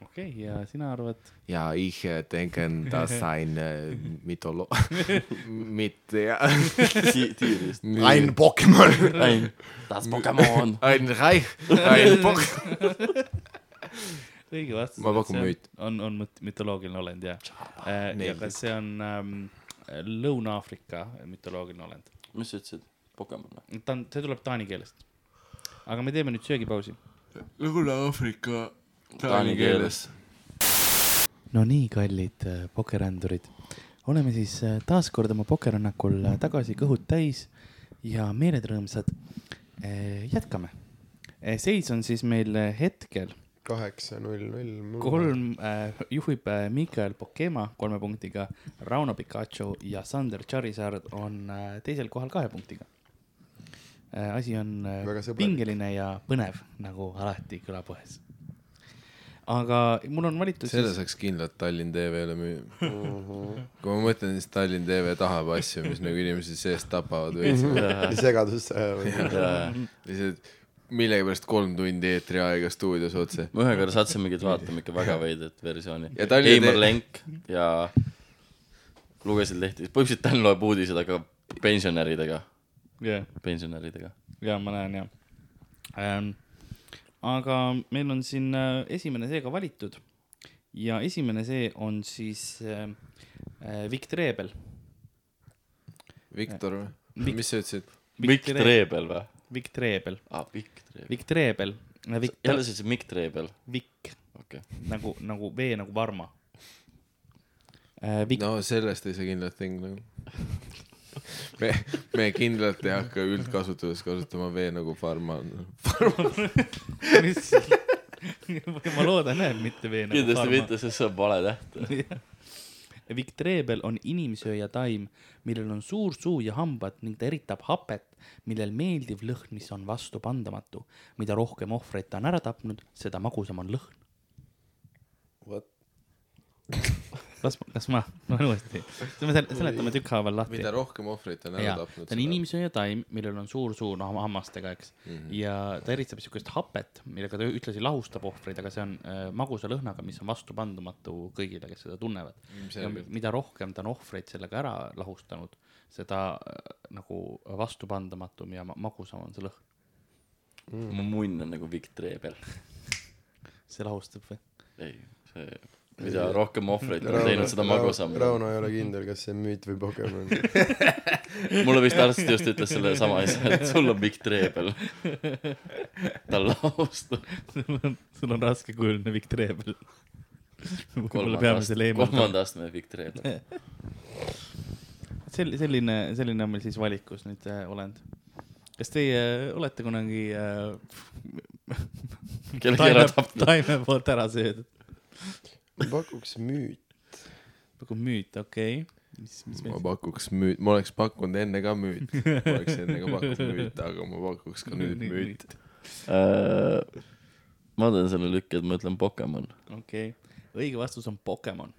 Speaker 5: okei , ja sina arvad ?
Speaker 4: ja ich denken das ein äh, *laughs* mitolo- , mit- ,
Speaker 2: Ti- tiirist .
Speaker 3: Ein Pokemon .
Speaker 2: ei , das Pokemon .
Speaker 4: ein reich ,
Speaker 2: *laughs*
Speaker 4: ein pok- .
Speaker 5: õige vastus .
Speaker 4: Ma pakun müüt. .
Speaker 5: on , on müt- mütoloogiline olend jah . ja
Speaker 4: meeldib.
Speaker 5: kas see on ähm, Lõuna-Aafrika mütoloogiline olend ?
Speaker 2: mis sa ütlesid ? Pokemon või ?
Speaker 5: ta on , see tuleb taani keelest . aga me teeme nüüd söögipausi .
Speaker 4: Lõuna-Aafrika
Speaker 2: Taani keeles. .
Speaker 5: no nii , kallid äh, pokerändurid , oleme siis äh, taas kord oma pokerrännakul äh, tagasi kõhud täis ja meeled rõõmsad . jätkame . seis on siis meil äh, hetkel
Speaker 3: kaheksa , null , null .
Speaker 5: kolm , juhib äh, Mikael Pokema kolme punktiga , Rauno Pikachu ja Sander Charizard on äh, teisel kohal kahe punktiga . asi on äh,
Speaker 3: Väga sõbralik.
Speaker 5: pingeline ja põnev , nagu alati külapoes . aga mul on valitud
Speaker 4: selle saaks kindlalt Tallinn TV-le müüa . kui ma mõtlen , siis Tallinn TV tahab asju , mis nagu inimesi seest tapavad veits .
Speaker 3: segadusse ajavad .
Speaker 4: lihtsalt millegipärast kolm tundi eetriaega stuudios otse .
Speaker 2: me ühe korra sattusimegi , et vaatame ikka väga veidrat versiooni .
Speaker 4: Ja Tallinna
Speaker 2: Heimar
Speaker 4: tee-
Speaker 2: Lenk ja lugesin lehti , põhimõtteliselt Dan loeb uudised , aga pensionäridega ,
Speaker 5: yeah. .
Speaker 2: pensionäridega .
Speaker 5: ja ma näen ja ähm, . aga meil on siin äh, esimene see ka valitud ja esimene see on siis äh, äh, Vikt Reebel .
Speaker 4: Viktor või ?
Speaker 5: Vik-
Speaker 4: mis sa ütlesid ?
Speaker 2: Mikk Treebel või ?
Speaker 5: Vikt Reebel ,
Speaker 2: aa , Mikk Treebel .
Speaker 5: Vikt Reebel ,
Speaker 2: jälle sa ütlesid Mikk Treebel ,
Speaker 5: Vikk
Speaker 2: okei okay. .
Speaker 5: Äh, nagu , nagu vee nagu varma äh, . *laughs* Vikt no. ,
Speaker 4: no sellest ei saa kindlalt ting
Speaker 5: *laughs*
Speaker 4: nagu . me , me kindlalt ei hakka üldkasutuses kasutama vee nagu farma .
Speaker 5: mis , *laughs* ma loodan jah , et mitte vee nagu
Speaker 2: kindlasti
Speaker 5: varma .
Speaker 2: mitte , sest see on vale täht .
Speaker 5: *laughs* Vikt Reebel on inimsööja taim , millel on suur suu ja hambad ning ta eritab hapet , millel meeldiv lõhn , mis on vastupandamatu . mida rohkem ohvreid ta on ära tapnud , seda magusam on lõhn .
Speaker 3: What?
Speaker 5: *laughs* las , las ma , ma loen uuesti , me sel- seletame tükkhaaval lahti
Speaker 4: mida . rohkem ohvreid on ära
Speaker 5: jaa ,
Speaker 4: tapnud .
Speaker 5: ta on inimsööja taim , millel on suur suu noh, hammastega , eks mm ,
Speaker 2: Mhm.
Speaker 5: -hmm. ja ta eristab siukest hapet , millega ta ühtlasi lahustab ohvreid , aga see on äh, magusa lõhnaga , mis on vastupandumatu kõigile , kes seda tunnevad . ja
Speaker 4: Ilmselgelt.
Speaker 5: mida rohkem ta on ohvreid sellega ära lahustanud , seda äh, nagu vastupandamatum ja ma- magusam on see lõhn .
Speaker 2: mu munn on nagu Mikk Treebel .
Speaker 5: see lahustab või ? *laughs*
Speaker 2: ei , see , mida rohkem ohvreid on
Speaker 3: Rauno-
Speaker 2: teinud , seda magusam .
Speaker 3: Rauno ei ole kindel , kas see on müüt või Pokemon .
Speaker 2: mulle vist arst just ütles selle sama asja , et sul on Mikk Treebel . ta lahustab .
Speaker 5: sul on raske kujuline Viktor
Speaker 2: *laughs*
Speaker 5: Ebel . võib-olla
Speaker 2: kolmanda
Speaker 5: peame selle
Speaker 2: astme ,
Speaker 5: eemaldama .
Speaker 2: kolmanda astme Mikk Treebel .
Speaker 5: sel- , selline , selline on meil siis valikus nüüd äh, olend . kas teie olete kunagi äh,
Speaker 2: Kellegi
Speaker 5: taime
Speaker 2: ära , tapnud?
Speaker 5: taime poolt ära söödud ?
Speaker 3: ma pakuks müüt .
Speaker 5: nagu müüt , okei okay. . mis , mis
Speaker 4: ma
Speaker 5: meil
Speaker 4: pakuks müüt , ma oleks pakkunud enne ka müüt , ma oleks enne ka pakkunud müüt , aga ma pakuks ka nüüd
Speaker 5: Nüüd
Speaker 4: müüt .
Speaker 2: Äh, ma teen selle lükki , et ma ütlen Pokemon .
Speaker 5: okei okay. , õige vastus on Pokemon .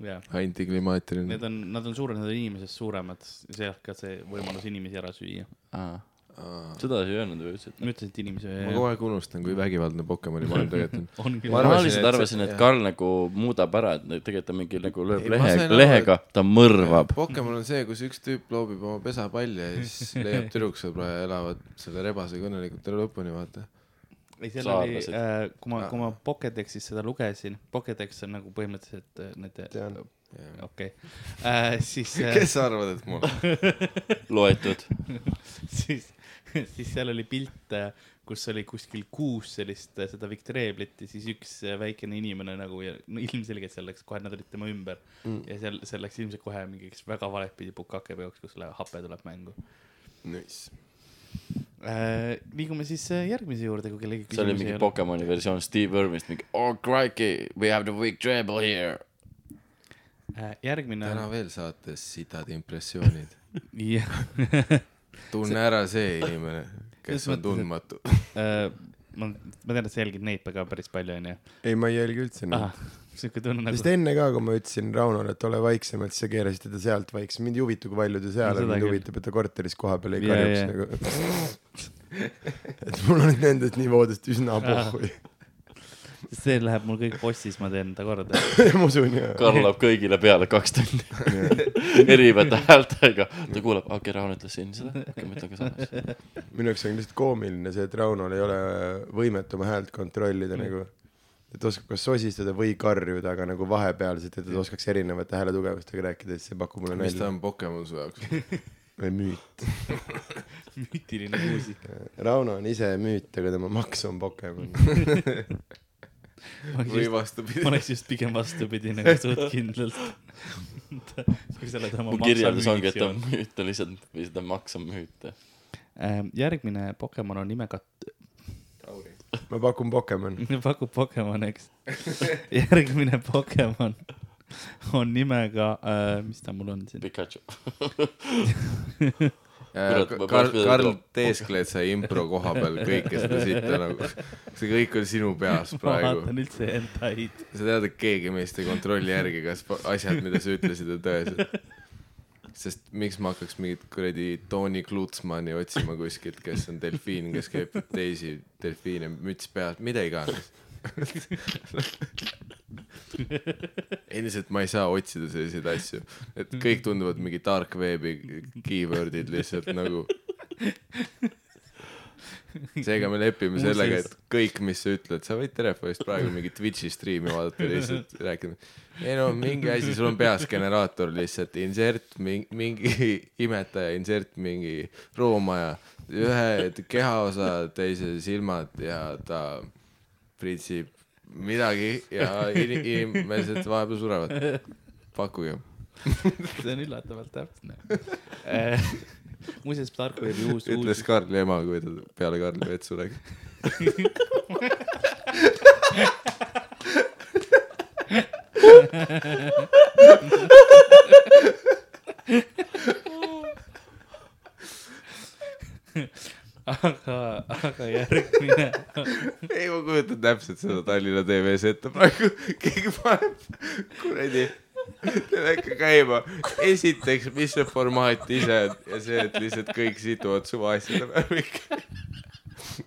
Speaker 5: jaa ,
Speaker 4: antiklimaatiline
Speaker 5: need . on , nad on suured , nad on inimesest suuremad , sealt ka see võimalus inimesi ära süüa .
Speaker 2: aa , seda sa ei öelnud või ütlesid ?
Speaker 5: ma ütlesin , et inimese
Speaker 4: ma kogu aeg unustan , kui vägivaldne Pokemoni
Speaker 5: *laughs*
Speaker 4: maailm tegelikult
Speaker 5: on
Speaker 4: on . Ma
Speaker 2: ma
Speaker 5: küll
Speaker 4: arvan- .
Speaker 2: tavaliselt
Speaker 4: et see-
Speaker 2: arvasin , et
Speaker 4: jah.
Speaker 2: Karl nagu muudab ära , et nüüd tegelikult ta mingi nagu lööb
Speaker 4: Ei, ma
Speaker 2: lehe
Speaker 4: sain , aru,
Speaker 2: lehega , ta mõrvab .
Speaker 4: Pokemon on see , kus üks tüüp loobib oma pesapalli ja
Speaker 5: *laughs*
Speaker 4: siis leiab tüdruksõbra ja elavad selle rebasega õnnelikult terve lõpuni , vaata .
Speaker 5: ei , seal oli ,
Speaker 2: saarlased.
Speaker 5: kui ma , kui ma Pokedexis seda lugesin , Pokedex on nagu põhimõtteliselt äh,
Speaker 7: Tean.
Speaker 5: nende , okei , siis äh,
Speaker 4: kes sa arvad , et mul ?
Speaker 2: loetud .
Speaker 5: siis , *laughs* siis seal oli pilt , kus oli kuskil kuus sellist äh, seda Victreeblit ja siis üks äh, väikene inimene nagu ja no ilmselgelt seal läks kohe , nad olid tema ümber mm. ja seal , seal läks ilmselt kohe mingiks väga valetpidi bukake peoks , kus läheb hape tuleb mängu
Speaker 4: Nice .
Speaker 5: äh, . liigume siis äh, järgmise juurde , kui kellegi
Speaker 2: see oli mingi
Speaker 5: ole .
Speaker 2: Pokemoni versioon Steve Irvist , mingi oh crikey , we have the weak treble here .
Speaker 5: Äh, järgmine
Speaker 4: täna . veel saates sitad impressioonid .
Speaker 5: *laughs* jah
Speaker 4: tunne ära see inimene , kes
Speaker 5: Selles
Speaker 4: on
Speaker 5: mõttes, et-
Speaker 4: tundmatu .
Speaker 5: äh, , ma , ma tean , et sa jälgid neipe ka päris palju , onju .
Speaker 3: ei , ma ei jälgi üldse neid .
Speaker 2: Mm.
Speaker 5: siuke tunne nagu
Speaker 3: sest . enne ka , kui ma ütlesin Raunole , et ole vaiksem , et sa keerasid teda sealt vaiksem , mind ei huvita , kui palju ta seal
Speaker 5: No
Speaker 3: on ,
Speaker 5: seda
Speaker 3: mind
Speaker 5: küll.
Speaker 3: huvitab , et ta korteris kohapeal ei
Speaker 5: Jaa,
Speaker 3: karjuks
Speaker 5: jaa.
Speaker 3: nagu . et mul on nendest nivoodest üsna pohhui .
Speaker 5: see läheb mul kõik postis , ma teen ta korda .
Speaker 3: *laughs*
Speaker 2: *laughs*
Speaker 3: ma usun jaa .
Speaker 2: Karl läheb kõigile peale kaks tundi *laughs* erivate häältega . ta kuulab , okei , Raun ütles siin seda , okei , ma ütlen ka
Speaker 4: *laughs*
Speaker 2: samas .
Speaker 3: minu jaoks on lihtsalt koomiline see , et Raunol ei ole võimet oma häält
Speaker 4: Mm.
Speaker 3: kontrollida nagu . et oskab kas sosistada või karjuda , aga nagu vahepealselt , et ta oskaks erinevate hääletugevustega rääkida , siis see pakub mulle
Speaker 4: Mm. mis ta
Speaker 3: nalja .
Speaker 4: on Pokemon su jaoks ?
Speaker 3: või müüt .
Speaker 5: müütiline muusika .
Speaker 3: Rauno on ise müüt , aga tema maks on Pokemon .
Speaker 4: *laughs* või
Speaker 5: ma
Speaker 4: vastupidi ?
Speaker 5: oleks just pigem vastupidi
Speaker 2: *laughs*
Speaker 5: nagu suht kindlalt . *laughs* kui sa oled oma
Speaker 2: mu
Speaker 5: maksa
Speaker 2: kirjeldus ongi , et
Speaker 5: müügiks
Speaker 2: ta on
Speaker 5: jõudnud.
Speaker 2: müüt , ta lihtsalt , või seda maks on müüt .
Speaker 5: Ähm, järgmine Pokemon on nimega ,
Speaker 3: ma pakun Pokemon .
Speaker 4: *laughs*
Speaker 5: *laughs* pakub Pokemon ,
Speaker 2: *laughs*
Speaker 5: eks . järgmine Pokemon on nimega äh, , mis ta mul on siin ,
Speaker 2: Pikachu . Kurat, ma
Speaker 4: Karl
Speaker 2: poleks , pidanud
Speaker 4: Äh, Karl
Speaker 2: looma-
Speaker 4: teeskled sa impro koha peal kõike seda sitta nagu . see kõik on sinu peas
Speaker 5: ma
Speaker 4: praegu .
Speaker 5: vaatan üldse hentaid .
Speaker 4: sa tead , et keegi meist ei kontrolli järgi , kas pa- asjad , mida sa ütlesid , on tõesed . sest miks ma hakkaks mingit kuradi Tony Klutsmani otsima kuskilt , kes on delfiin , kes käib teisi delfiine müts peas , mida iganes . endiselt ma ei saa otsida selliseid asju , et kõik tunduvad mingi dark web'i keyword'id lihtsalt nagu . seega me lepime sellega , et kõik , mis sa ütled , sa võid telefonist praegu mingi Twitch'i striimi vaadata ja lihtsalt rääkida . ei no mingi asi , sul on peas generaator lihtsalt , insert mingi, mingi *laughs* imetaja , insert mingi roomaja , ühe kehaosa , teise silmad ja ta pritsib midagi ja in- inimesed vahepeal surevad . pakkuge .
Speaker 5: see on üllatavalt
Speaker 2: *laughs*
Speaker 5: täpne . muuseas , Tarkveebi uus ,
Speaker 4: ütles
Speaker 5: uus ,
Speaker 4: Karli ema , kui ta peale Karli vetsu läks .
Speaker 5: aga , aga järgmine
Speaker 4: ei , ma kujutan täpselt seda Tallinna TV-s ette praegu , keegi paneb kuradi teleka käima . esiteks , mis see formaat ise on ja see , et lihtsalt kõik situvad suva asjade peale ikka .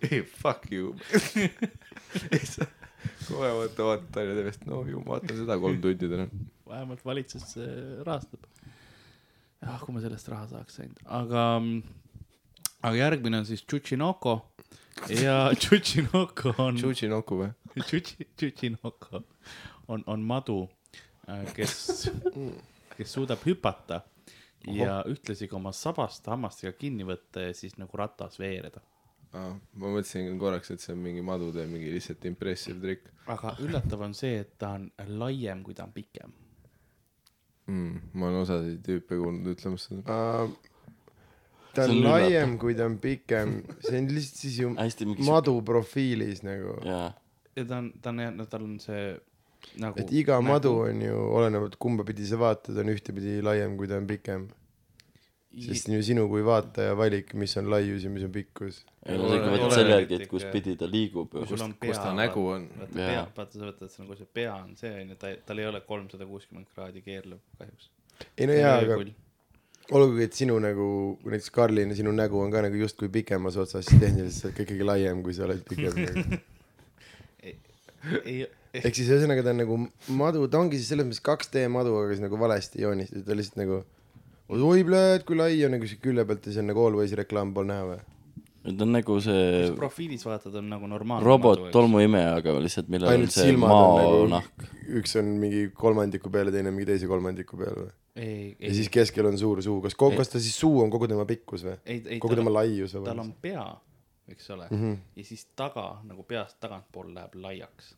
Speaker 4: ei , fuck you . kohe vaata , vaata Tallinna TV-st , no ju ma vaatan seda kolm tundi täna .
Speaker 5: vähemalt valitsus äh, rahastab . ah , kui ma sellest raha saaks ainult , aga , aga järgmine on siis Tšutšinoko ja Tšutšinoko on ,
Speaker 4: Tšutši Noku või ?
Speaker 5: Tšutšinoko on , on madu , kes , kes suudab hüpata ja ühtlasi ka oma sabast hammastega kinni võtta ja siis nagu ratas veereda .
Speaker 4: aa , ma mõtlesin korraks , et see on mingi madude mingi lihtsalt impressive trikk
Speaker 5: aga üllatav on see , et ta on laiem , kui ta on pikem .
Speaker 4: mm, . ma olen osasid tüüpe kuulnud ütlemas seda .
Speaker 3: ta
Speaker 2: See
Speaker 3: on
Speaker 2: on
Speaker 3: laiem , kui ta on pikem , see on lihtsalt siis
Speaker 4: *laughs*
Speaker 3: ju
Speaker 2: hästi mingi sihuke ,
Speaker 3: madu profiilis nagu ,
Speaker 2: jaa .
Speaker 5: ja ta on , ta on jah , no tal on see nagu .
Speaker 3: et iga madu on ju olenevalt kumba pidi sa vaatad , on ühtepidi laiem , kui ta on pikem , sest ju sinu kui vaataja valik , mis on laius ja mis on pikkus .
Speaker 2: ei no see ikka
Speaker 5: Oleneb-
Speaker 2: võtab selle
Speaker 5: oleneb
Speaker 2: järgi , et
Speaker 5: ikka,
Speaker 2: kus
Speaker 5: jah.
Speaker 2: pidi ta liigub ju .
Speaker 5: sul on pea .
Speaker 4: kus ta nägu on.
Speaker 5: vaata
Speaker 2: Jaa.
Speaker 5: pea , vaata sa võtad see nagu see pea on see onju , ta , tal ei ole kolmsada kuuskümmend kraadi keerlev kahjuks .
Speaker 3: ei no jaa , aga olgugi , et sinu nagu näiteks Karlin , sinu nägu on ka nagu justkui pikemas otsas , siis tehniliselt sa oled ka ikkagi laiem , kui sa oled
Speaker 5: *laughs*
Speaker 3: pikem .
Speaker 5: ei ,
Speaker 3: ehk siis ühesõnaga ta on nagu madu , ta ongi siis selles mõttes 2D madu , aga siis nagu valesti joonistatud , ta lihtsalt nagu oi , blööd , kui lai on , nagu see külje pealt ja see on nagu Always reklaam pool näha või ?
Speaker 2: ta on nagu see
Speaker 5: profiilis vaatad , on nagu normaalne .
Speaker 2: robot . tolmuimeja , aga lihtsalt millel on
Speaker 3: ainult
Speaker 2: see
Speaker 3: silmad on
Speaker 2: maonahk .
Speaker 3: nagu , üks on mingi kolmandiku peale , teine mingi teise kolmandiku peale või ?
Speaker 5: ei ,
Speaker 3: ja
Speaker 5: ei ,
Speaker 3: siis keskel on suur suu , kas , kas ta siis suu on kogu tema pikkus või ?
Speaker 5: ei , ei ,
Speaker 3: kogu tema laius või
Speaker 5: tal ? on pea , eks ole
Speaker 3: Mhm.
Speaker 5: mm , -hmm. ja siis taga nagu peast tagantpool läheb laiaks .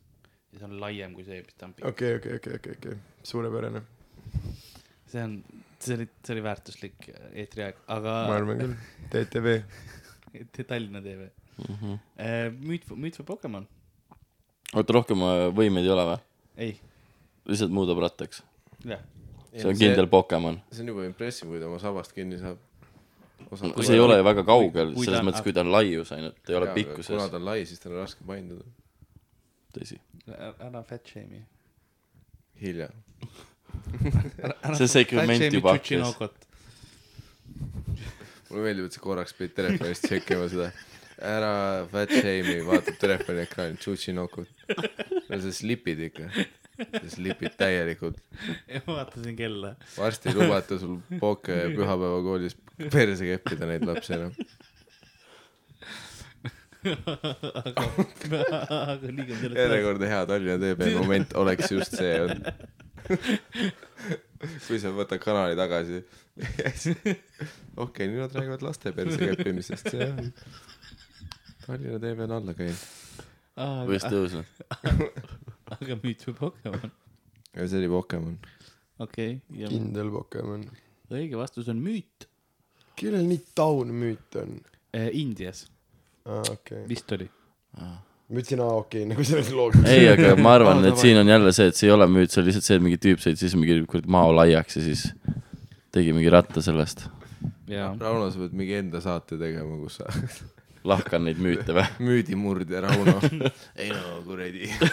Speaker 5: ja see on laiem kui see , mis ta on pikk
Speaker 3: okei , okei , okei , okei , okei , suurepärane ,
Speaker 5: okay. . see on , see oli , see oli väärtuslik eetriaeg , aga
Speaker 3: ma arvan
Speaker 5: *laughs*
Speaker 3: küll , TTV .
Speaker 5: Te- Tallinna TV mm .
Speaker 3: Mhm.
Speaker 5: -hmm. müüt , müüt või Pokemon ?
Speaker 2: oota , rohkem äh, võimeid ei ole või ?
Speaker 5: ei ,
Speaker 2: lihtsalt muudab rattaks .
Speaker 5: jah .
Speaker 2: see on kindel Pokemon .
Speaker 4: see on juba impressive , kui ta oma sabast kinni saab .
Speaker 2: see ei ole ju väga kaugel ,
Speaker 5: kui ta
Speaker 2: selles
Speaker 5: on-
Speaker 2: mõttes , kui ta on laius ainult , ei ole pikkuses
Speaker 4: kuna . ta on lai , siis tal on raske painduda .
Speaker 2: tõsi .
Speaker 5: ära fat shame'i .
Speaker 4: hilja .
Speaker 2: See segment juba hakkas.
Speaker 5: *laughs*
Speaker 4: mulle meeldib , et sa korraks pidid telefonist tšekkima seda . ära fat shame'i , vaata telefoni ekraani , tšutšinokut . no sa slipid ikka . sa slipid täielikult .
Speaker 5: ma vaatasin kella . *laughs*
Speaker 4: varsti ei lubata sul poke pühapäevakoolis perse keppida neid lapsi enam .
Speaker 3: *laughs*
Speaker 5: aga , aga liiga on sellest .
Speaker 4: järjekordne hea Tallinna TV moment oleks just see olnud . kui sa võtad kanali tagasi . *laughs* okei , nüüd nad räägivad laste perse keppimisest , see on . Tallinna TV on alla käinud .
Speaker 2: või just
Speaker 5: aga ,
Speaker 2: tõusnud .
Speaker 5: aga müüt või Pokemon ?
Speaker 4: ja see oli Pokemon .
Speaker 5: okei okay, ,
Speaker 3: kindel Pokemon .
Speaker 5: ja õige vastus on müüt
Speaker 3: kellel nii taun müüt on ?
Speaker 5: eh, . Indias
Speaker 3: aa , okei okay. .
Speaker 5: vist oli .
Speaker 3: ma ütlesin , aa , okei okay, , nagu selles loogikas .
Speaker 2: ei , aga ma arvan , et siin on jälle see , et see ei ole müüt , see on lihtsalt see , et mingi tüüp sõitis siis mingi kuradi mao laiaks ja siis tegi mingi ratta sellest .
Speaker 5: jaa .
Speaker 4: Rauno , sa pead mingi enda saate tegema , kus sa *laughs*
Speaker 2: lahkan neid müüte või ?
Speaker 4: müüdimurdja Rauno . ei no kuradi . *laughs*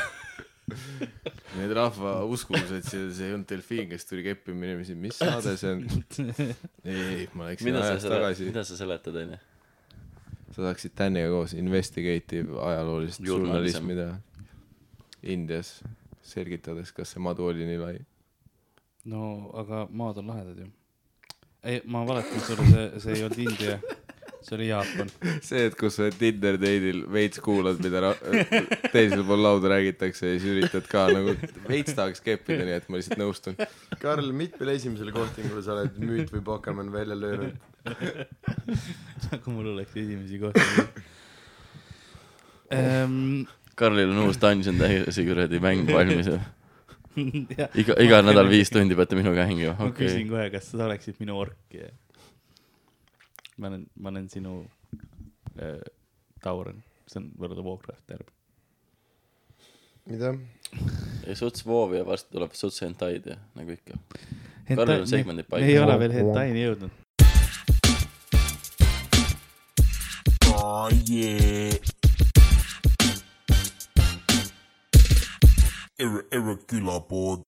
Speaker 4: Need rahva uskumused , see , see ei olnud delfiin , kes tuli keppima inimesi , mis saade see on ? ei , ei , ma läksin
Speaker 2: mida sa
Speaker 4: ajas
Speaker 2: selle ,
Speaker 4: tagasi .
Speaker 2: mida sa seletad , onju ?
Speaker 4: sa saaksid Täniga koos investigative ajaloolist
Speaker 2: Journalism.
Speaker 4: journalismi teha Indias , selgitades , kas see madu oli nii lai .
Speaker 5: no aga maad on lahedad ju . ei , ma valetasin sulle , see , see ei olnud India , see oli *laughs* Jaapan .
Speaker 4: see , et kus sa oled Tinder date'il veits kuulad , mida ra- teisel pool lauda räägitakse ja siis üritad ka nagu veits tahaks keppida , nii et ma lihtsalt nõustun .
Speaker 3: Karl , mitmel esimesel kohtingul sa oled müüt või Pokemon välja löönud ?
Speaker 5: nagu mul oleks esimesi kohti ähm, .
Speaker 2: Karlil on uus Dungeon Diary'si kuradi mäng valmis ja
Speaker 5: *laughs* jah ,
Speaker 2: iga , iga nädal viis tundi peate minuga hängima ,
Speaker 5: ma okay.
Speaker 2: okei
Speaker 5: küsin . kohe , kas sa oleksid minu ork ja ma olen , ma olen sinu äh, Tauren , see on World of Warcraft järg .
Speaker 3: mida ?
Speaker 2: ja suts Voovi ja varsti tuleb suts Hentaid ja nagu ikka . Karlil on segmendid
Speaker 5: me ei
Speaker 2: paigas .
Speaker 5: ole veel hentaini jõudnud .
Speaker 1: Oh yeah. Ir- Irregular board.